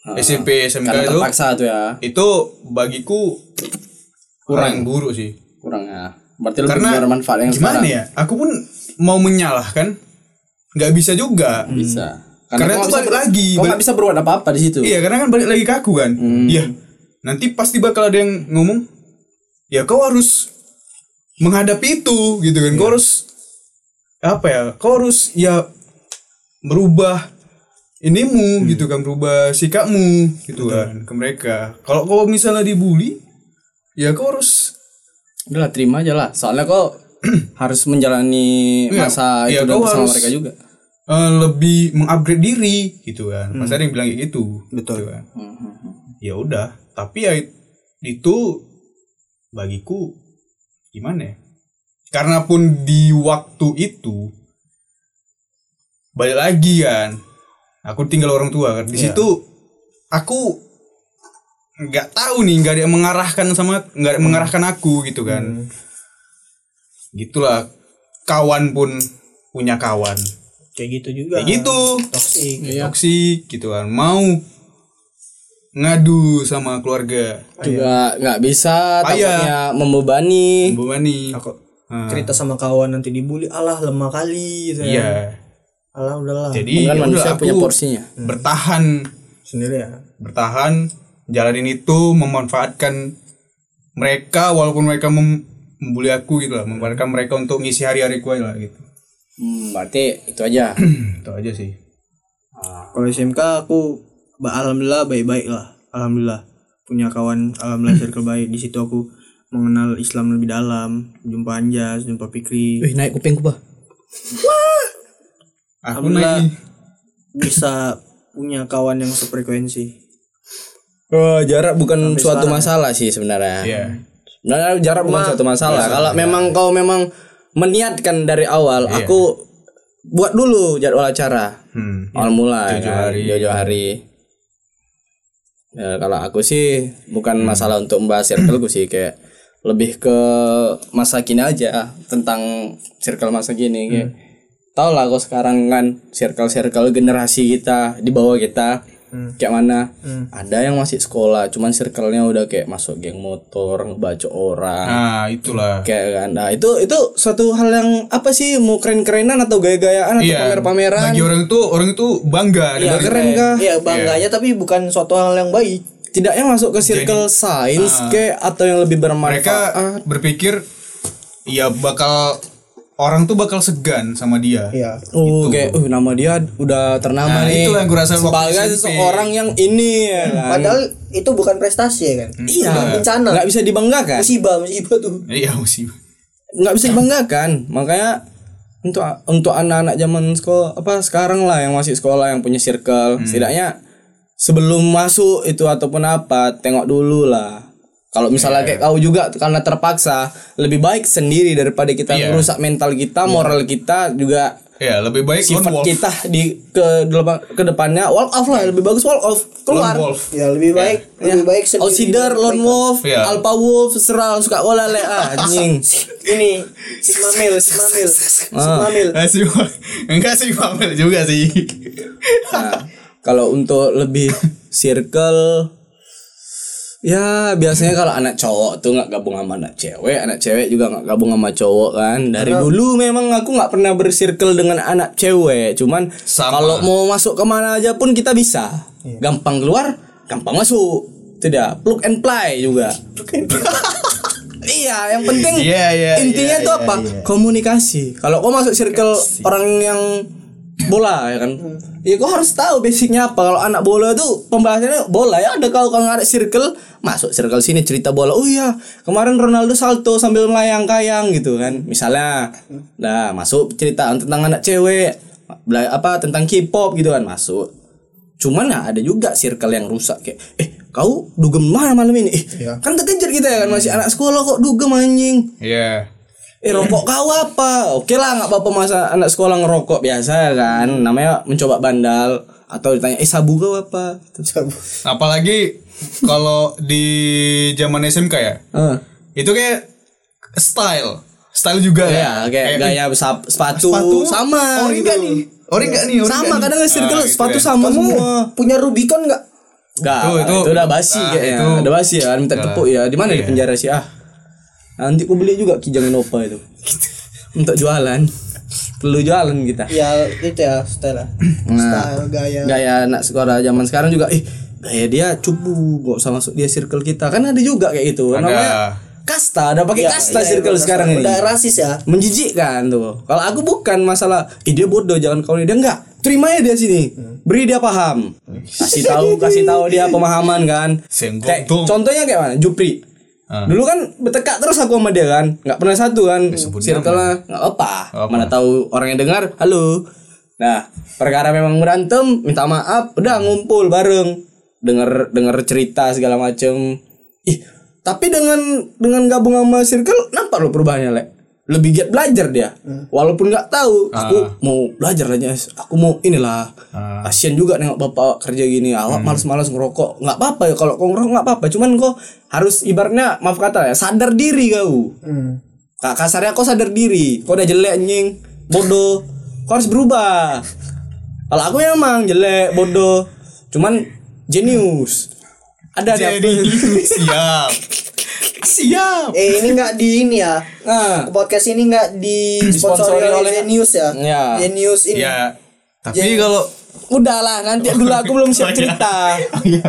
Speaker 3: Ah, SMP SMK
Speaker 5: Karena
Speaker 3: itu
Speaker 5: terpaksa tuh ya.
Speaker 3: itu bagiku kurang buruk sih.
Speaker 5: Kurang ya. Berarti lu
Speaker 3: Karena
Speaker 5: benar manfaat yang
Speaker 3: gimana
Speaker 5: sekarang.
Speaker 3: ya? Aku pun mau menyalahkan nggak bisa juga.
Speaker 5: Bisa.
Speaker 3: Karena itu
Speaker 5: kau nggak bisa
Speaker 3: balik
Speaker 5: ber-
Speaker 3: lagi,
Speaker 5: Kau nggak
Speaker 3: balik-
Speaker 5: bisa berbuat apa-apa di situ.
Speaker 3: Iya, karena kan balik lagi ke aku kan. Iya. Nanti pasti bakal ada yang ngomong, "Ya kau harus menghadapi itu." gitu kan. Kau harus apa ya? Kau harus ya merubah inimu gitu kan, berubah sikapmu gitu kan ke mereka. Kalau kau misalnya dibully, ya kau harus
Speaker 5: Udah lah, terima aja lah. Soalnya kok harus menjalani
Speaker 3: Iya,
Speaker 5: masa
Speaker 3: iya,
Speaker 5: itu dan
Speaker 3: kau
Speaker 5: bersama
Speaker 3: harus-
Speaker 5: mereka juga.
Speaker 3: eh, lebih mengupgrade diri gitu kan. Mas ada yang bilang kayak gitu. Betul. kan. Ya udah, tapi ya it- itu bagiku gimana ya? Karena pun di waktu itu balik lagi kan. Aku tinggal orang tua kan. Di situ aku nggak tahu nih nggak ada yang mengarahkan sama nggak ada yang mengarahkan aku gitu kan gitulah kawan pun punya kawan
Speaker 6: kayak gitu
Speaker 3: Iya.
Speaker 6: juga
Speaker 3: kayak gitu
Speaker 6: toksik
Speaker 5: Iya.
Speaker 3: toksik gitu kan mau ngadu sama keluarga
Speaker 5: Juga nggak bisa
Speaker 3: Payah.
Speaker 5: takutnya membebani.
Speaker 3: membebani Ah,
Speaker 6: cerita sama kawan nanti dibully alah lemah kali gitu ya.
Speaker 3: iya
Speaker 6: alah udahlah
Speaker 3: jadi
Speaker 5: kan
Speaker 3: ya udah
Speaker 5: manusia
Speaker 3: aku
Speaker 5: punya porsinya.
Speaker 3: bertahan
Speaker 6: sendiri ya
Speaker 3: bertahan jalanin itu memanfaatkan mereka walaupun mereka mem- membuli aku gitu lah memanfaatkan mereka untuk ngisi hari-hariku aja lah gitu Hmm,
Speaker 5: Hmm, berarti itu aja.
Speaker 3: itu aja sih
Speaker 6: Kalau SMK aku ba- alhamdulillah baik-baik lah. Alhamdulillah punya kawan alhamdulillah circle baik. Di situ aku mengenal Islam lebih dalam, jumpa Anjas, jumpa Fikri.
Speaker 5: naik kupingku, Pak.
Speaker 3: Aku
Speaker 6: Alhamdulillah.
Speaker 3: naik
Speaker 6: bisa punya kawan yang sefrekuensi
Speaker 5: Eh, jarak bukan
Speaker 6: Sampai
Speaker 5: suatu
Speaker 6: sekarang, ya?
Speaker 5: masalah sih sebenarnya.
Speaker 3: Iya.
Speaker 5: Sebenarnya jarak bukan suatu masalah. Kalau memang kau memang meniatkan dari awal, aku buat dulu jadwal acara.
Speaker 3: Hmm.
Speaker 5: Awal mulai
Speaker 3: Tujuh
Speaker 5: kan,
Speaker 3: hari.
Speaker 5: tujuh hari. Ya, kalau aku sih bukan
Speaker 3: Hmm.
Speaker 5: masalah untuk membahas circleku sih kayak lebih ke masa kini aja ah, tentang circle masa kini kayak
Speaker 3: Hmm.
Speaker 5: tau lah kok sekarang kan circle circle generasi kita di bawah kita
Speaker 3: Hmm.
Speaker 5: kayak mana ada yang masih sekolah cuman circle-nya udah kayak masuk geng motor ngebaca orang
Speaker 3: Nah, itulah.
Speaker 5: kayak kan nah itu itu suatu hal yang apa sih mau keren kerenan atau gaya gayaan atau pamer pameran
Speaker 3: Iya, Bagi orang itu orang itu bangga
Speaker 5: ya
Speaker 3: dengan-
Speaker 5: keren kah
Speaker 6: Iya
Speaker 5: Ya,
Speaker 6: bangganya tapi bukan suatu hal yang baik
Speaker 5: tidaknya masuk ke circle sains kayak atau yang lebih
Speaker 3: ah. mereka gitu.
Speaker 5: bermanfaat Ah.
Speaker 3: berpikir ya bakal orang tuh bakal segan sama dia.
Speaker 6: Iya
Speaker 5: Oh, kayak uh, nama dia udah
Speaker 3: Nah,
Speaker 5: ternama nih.
Speaker 3: itulah yang kurasa waktu
Speaker 5: Sebagai
Speaker 3: SMP.
Speaker 5: seseorang yang ini ya kan.
Speaker 6: Padahal itu bukan prestasi ya kan
Speaker 5: iya,
Speaker 6: Bukan bencana
Speaker 5: nggak bisa dibanggakan.
Speaker 6: Musibah musibah tuh
Speaker 3: Iya sih.
Speaker 5: nggak bisa dibanggakan makanya untuk untuk anak-anak zaman sekolah apa sekarang lah yang masih sekolah yang punya circle
Speaker 3: Hmm.
Speaker 5: setidaknya sebelum masuk itu ataupun apa tengok dulu lah kalau misalnya
Speaker 3: Iya.
Speaker 5: kayak kau juga karena terpaksa lebih baik sendiri daripada kita
Speaker 3: Iya.
Speaker 5: merusak mental kita moral kita juga
Speaker 3: Ya lebih baik lone
Speaker 5: sifat
Speaker 3: wolf.
Speaker 5: kita di ke ke depannya wall off lah lebih bagus wall off keluar Iya.
Speaker 3: Lone wolf.
Speaker 6: Ya lebih baik Lebih baik sendiri
Speaker 5: outsider lone wolf
Speaker 3: Iya.
Speaker 5: alpha wolf serang suka oleh anjing
Speaker 6: Ini Sigma male Sigma male
Speaker 5: Ah.
Speaker 6: Sigma male
Speaker 3: Eh, sih, Bang. enggak sih Pamel juga sih.
Speaker 5: Nah, kalau untuk lebih circle ya biasanya kalau anak cowok tuh nggak gabung sama anak cewek anak cewek juga nggak gabung sama cowok kan dari dulu memang aku nggak pernah bersirkel dengan anak cewek cuman
Speaker 3: Sama. Iya.
Speaker 5: kalau mau masuk kemana aja pun kita bisa gampang keluar gampang masuk tidak plug and play juga Iya, yang penting
Speaker 3: Iya, iya,
Speaker 5: intinya
Speaker 3: iya,
Speaker 5: tuh
Speaker 3: iya,
Speaker 5: apa? Komunikasi. Kalau kau masuk circle orang yang bola ya kan, ya kau harus tahu basicnya apa. Kalau anak bola tuh pembahasannya bola ya ada kau kalau nggak ada circle masuk circle sini cerita bola. Oh iya, kemarin Ronaldo salto sambil melayang kayang gitu kan. Misalnya, nah masuk cerita tentang anak cewek, bela- apa tentang K-pop gitu kan masuk. Cuman nah, ada juga circle yang rusak kayak eh kau dugem mana malam ini? Eh, kan kekejar kita ya kan masih anak sekolah kok dugem anjing.
Speaker 3: Iya.
Speaker 5: Eh rokok kau apa? Oke lah nggak apa-apa masa anak sekolah ngerokok biasa kan. Namanya mencoba bandal atau ditanya eh sabu kau apa? Sabu.
Speaker 3: Apalagi kalau di zaman SMK ya. Itu kayak style. Style juga kan.
Speaker 5: ya, kayak
Speaker 3: eh,
Speaker 5: gaya sap- sepatu, sama
Speaker 3: Ori
Speaker 5: gitu.
Speaker 3: enggak Oh, nih? Ori enggak nih? Ori
Speaker 5: Sama
Speaker 3: nggak
Speaker 5: kadang
Speaker 3: nih?
Speaker 5: circle
Speaker 3: Ah, gitu
Speaker 5: sepatu
Speaker 3: ya.
Speaker 5: sama semua.
Speaker 6: Punya Rubicon gak?
Speaker 5: Enggak,
Speaker 3: Itu-
Speaker 5: itu,
Speaker 3: itu-
Speaker 5: udah basi
Speaker 3: ah,
Speaker 5: kayaknya.
Speaker 3: itu- Iya.
Speaker 5: Udah basi ya, minta tepuk ya. Di mana di penjara sih ah? Nanti ku beli juga Kijang Innova itu. Untuk jualan. Perlu jualan kita.
Speaker 6: Ya itu ya style lah Style gaya
Speaker 5: Nah, Gaya anak sekolah zaman sekarang juga ih, gaya dia cupu, gak usah masuk dia circle kita. Kan ada juga kayak gitu.
Speaker 3: Ada.
Speaker 5: Namanya kasta, ada
Speaker 6: Ya, Iya,
Speaker 5: pakai kasta circle sekarang ini.
Speaker 6: Udah rasis ya
Speaker 5: Menjijikkan tuh. Kalau aku bukan masalah ih dia bodoh jangan kau dia enggak. Terima ya dia sini. Beri dia paham. Kasih tahu, kasih tahu dia pemahaman kan.
Speaker 3: Senggol
Speaker 5: Kayak,
Speaker 3: dong.
Speaker 5: contohnya kayak mana? Jupri.
Speaker 3: Ah. Ya,
Speaker 5: Dulu kan bertekak terus aku sama dia kan, nggak pernah satu kan.
Speaker 3: sebut
Speaker 5: Circle-nya nggak apa.
Speaker 3: apa.
Speaker 5: Mana tahu orang yang dengar, halo. Nah, perkara memang berantem, minta maaf, udah ngumpul bareng, denger denger cerita segala macem. Ih, tapi dengan dengan gabung sama circle, nampak lo perubahannya lek. Lebih giat belajar dia, walaupun nggak tahu. Aku mau belajar aja, aku mau inilah. Kasian juga nengok bapak kerja gini, awak malas-malas ngerokok. Nggak apa-apa ya kalau kau ngerokok nggak apa-apa. Cuman kau harus ibaratnya maaf kata ya, sadar diri kau. Kak kasarnya kau sadar diri, kau udah jelek anjing, bodoh. Kau harus berubah. Kalau aku emang jelek, bodoh. Cuman jenius. Ada ada
Speaker 3: Jadi siap.
Speaker 5: siap.
Speaker 6: Eh ini nggak di ini ya.
Speaker 5: Nah,
Speaker 6: Podcast ini nggak disponsori
Speaker 5: Disponsori
Speaker 6: oleh
Speaker 5: oleh-
Speaker 6: Genius ya.
Speaker 5: Ya.
Speaker 6: Genius ini.
Speaker 3: Ya. Tapi kalau
Speaker 5: udahlah nanti dulu aku belum
Speaker 3: Oh,
Speaker 5: siap
Speaker 3: ya.
Speaker 5: cerita.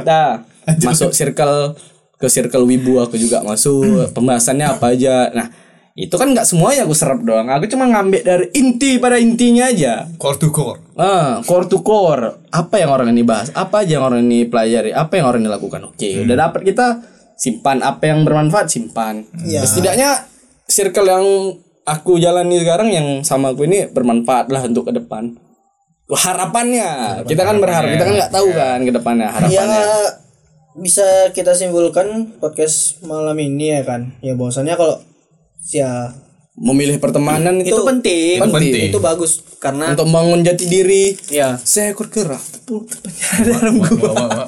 Speaker 5: Dah. Masuk circle ke circle wibu aku juga masuk. Pembahasannya apa aja. Nah, itu kan nggak semuanya aku serap doang. Aku cuma ngambil dari inti pada intinya aja.
Speaker 3: core to core.
Speaker 5: Ah, core to core. Apa yang orang ini bahas? Apa aja yang orang ini pelajari? Apa yang orang ini lakukan? Oke, udah dapat kita simpan apa yang bermanfaat simpan.
Speaker 6: Hmm. Ya.
Speaker 5: Setidaknya circle yang aku jalani sekarang yang sama aku ini bermanfaat lah untuk ke depan. harapannya kita kan berharap kita kan nggak tahu kan ke depannya
Speaker 6: Ya
Speaker 5: harapannya
Speaker 6: bisa kita simpulkan podcast malam ini ya kan. Ya bahwasannya kalau ya
Speaker 5: memilih pertemanan itu,
Speaker 6: itu penting.
Speaker 5: Itu penting.
Speaker 6: Itu bagus karena
Speaker 5: untuk membangun jati diri
Speaker 6: ya
Speaker 5: seekor kera
Speaker 3: Wah, wah,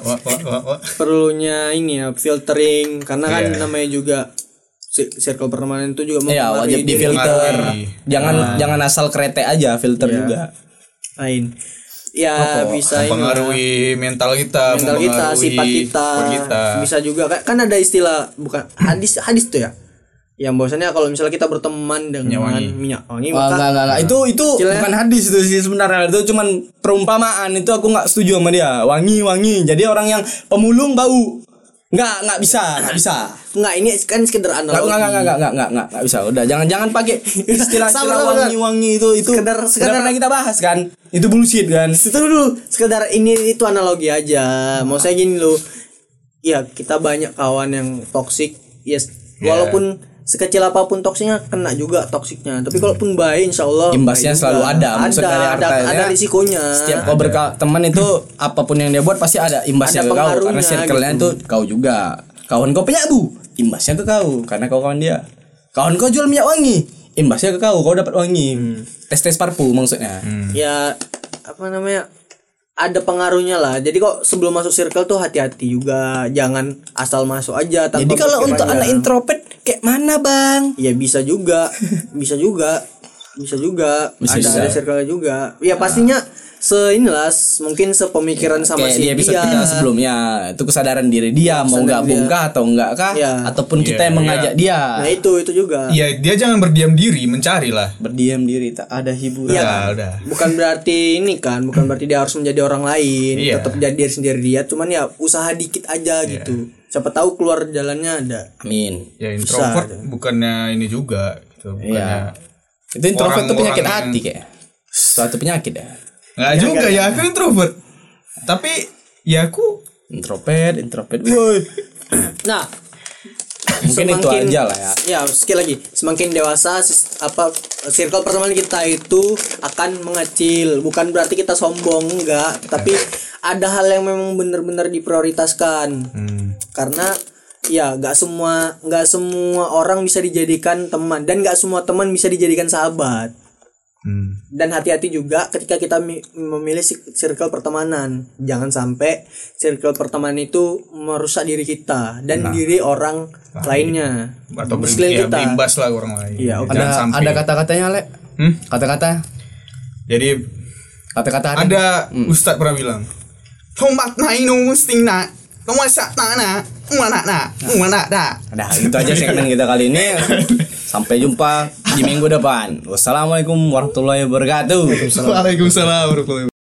Speaker 3: wah, wah, wah, wah, Iya. wah.
Speaker 6: perlunya ini ya filtering karena kan
Speaker 3: Ya.
Speaker 6: namanya juga si- circle pertemanan itu juga
Speaker 5: ya
Speaker 6: mempengaruhi
Speaker 5: wajib
Speaker 6: diri
Speaker 5: difilter
Speaker 3: Mempengaruhi.
Speaker 5: jangan jangan asal kerete aja filter juga
Speaker 6: lain. Ya bisa ini lah.
Speaker 3: mempengaruhi mental kita,
Speaker 6: mental kita,
Speaker 3: mempengaruhi
Speaker 6: sifat kita,
Speaker 3: sifat kita.
Speaker 6: bisa juga kan, kan ada istilah bukan hadis hadis tuh ya yang bahwasannya kalau misalnya kita berteman dengan minyak wangi,
Speaker 5: Wah,
Speaker 6: maka
Speaker 5: enggak, enggak, enggak. itu itu
Speaker 6: Kecilnya.
Speaker 5: bukan hadis itu sih sebenarnya itu cuman perumpamaan itu aku nggak setuju sama dia wangi wangi jadi orang yang pemulung bau nggak nggak bisa nggak bisa
Speaker 6: enggak ini kan
Speaker 5: nggak
Speaker 6: sekedar
Speaker 5: nggak
Speaker 6: analogi
Speaker 5: nggak nggak nggak nggak nggak nggak bisa udah jangan jangan pakai istilah
Speaker 6: Sabar,
Speaker 5: istilah
Speaker 6: sabar, sabar.
Speaker 5: wangi wangi itu itu
Speaker 6: Sekedar-
Speaker 5: udah
Speaker 6: sekedar-
Speaker 5: pernah kita bahas kan itu bullshit kan
Speaker 6: itu dulu sekedar ini itu analogi aja
Speaker 5: Nah.
Speaker 6: mau saya gini loh ya kita banyak kawan yang toksik yes
Speaker 5: Iya.
Speaker 6: walaupun sekecil apapun toksiknya kena juga toksiknya tapi kalaupun baik insya Allah
Speaker 5: Imbasnya
Speaker 6: baik juga.
Speaker 5: selalu ada, maksud
Speaker 6: ada
Speaker 5: dari
Speaker 6: ada,
Speaker 5: artinya
Speaker 6: ada risikonya
Speaker 5: setiap kau berteman itu apapun yang dia buat pasti ada imbasnya ke
Speaker 6: Ada
Speaker 5: kau karena
Speaker 6: pengaruhnya,
Speaker 5: circle-nya
Speaker 6: gitu.
Speaker 5: itu kau juga kawan kau penyabu imbasnya ke kau karena kau kawan dia kawan kau jual minyak wangi imbasnya ke kau kau dapat wangi
Speaker 6: Hmm.
Speaker 5: tes tes parfum maksudnya
Speaker 6: ya apa namanya ada pengaruhnya lah jadi kok sebelum masuk circle tuh hati-hati juga jangan asal masuk aja tanpa
Speaker 5: jadi kalau
Speaker 6: berpikir
Speaker 5: untuk
Speaker 6: panjang.
Speaker 5: anak introvert kayak mana bang
Speaker 6: ya bisa juga bisa juga bisa juga
Speaker 5: Bisa
Speaker 6: ada
Speaker 5: juga.
Speaker 6: ada circle juga ya pastinya se inilah s- mungkin sepemikiran sama
Speaker 5: kayak
Speaker 6: si
Speaker 5: dia
Speaker 6: dia,
Speaker 5: bisa kita sebelumnya itu kesadaran diri dia mau
Speaker 6: Kesadaran
Speaker 5: gabung
Speaker 6: dia.
Speaker 5: kah atau enggak kah
Speaker 6: Iya.
Speaker 5: ataupun
Speaker 3: Iya,
Speaker 5: kita yang
Speaker 3: iya.
Speaker 5: mengajak dia
Speaker 6: nah itu itu juga
Speaker 3: Iya, dia jangan berdiam diri, mencarilah.
Speaker 5: berdiam diri tak ada hiburan
Speaker 6: Iya.
Speaker 3: Udah, udah.
Speaker 6: bukan berarti ini kan bukan berarti dia harus menjadi orang lain
Speaker 3: Iya.
Speaker 6: tetap jadi diri sendiri dia cuman ya usaha dikit aja
Speaker 5: Iya.
Speaker 6: gitu siapa tahu keluar jalannya ada
Speaker 5: amin
Speaker 3: Ya
Speaker 6: Susah,
Speaker 3: introvert bukannya ini juga gitu, bukannya.
Speaker 5: Iya. Itu introvert tuh
Speaker 3: Orang-orang
Speaker 5: penyakit
Speaker 3: yang-
Speaker 5: hati kayak. Suatu penyakit ya.
Speaker 3: Enggak juga ya, aku introvert. Tapi ya aku
Speaker 5: Introvert, introvert. Woi.
Speaker 6: Nah,
Speaker 5: Mungkin itu
Speaker 6: semakin-
Speaker 5: aja lah ya.
Speaker 6: Ya, sekali lagi, semakin dewasa sis- apa circle pertemanan kita itu akan mengecil. Bukan berarti kita sombong enggak, tapi ada hal yang memang benar-benar diprioritaskan. Karena ya nggak semua nggak semua orang bisa dijadikan teman dan nggak semua teman bisa dijadikan sahabat
Speaker 3: hmm,
Speaker 6: dan hati-hati juga ketika kita mi- memilih si- circle pertemanan jangan sampai circle pertemanan itu merusak diri kita dan diri orang lainnya
Speaker 3: Nah. atau ber,
Speaker 6: Sekeliling
Speaker 3: ya,
Speaker 6: kita
Speaker 3: berimbas lah ke orang lain.
Speaker 6: Iya, oke.
Speaker 5: Ada
Speaker 3: Jangan sampai.
Speaker 5: ada kata-katanya, Le.
Speaker 3: Hmm?
Speaker 5: Kata-kata.
Speaker 3: Jadi
Speaker 5: Kata-kata hari.
Speaker 3: ada Ustadz pernah bilang, "Tomat naino musting na, tomat sak na, mana na, mana na."
Speaker 5: Nah, itu aja segmen kita kali ini. Sampai jumpa di minggu depan. Wassalamualaikum warahmatullahi wabarakatuh.
Speaker 3: Waalaikumsalam warahmatullahi wabarakatuh.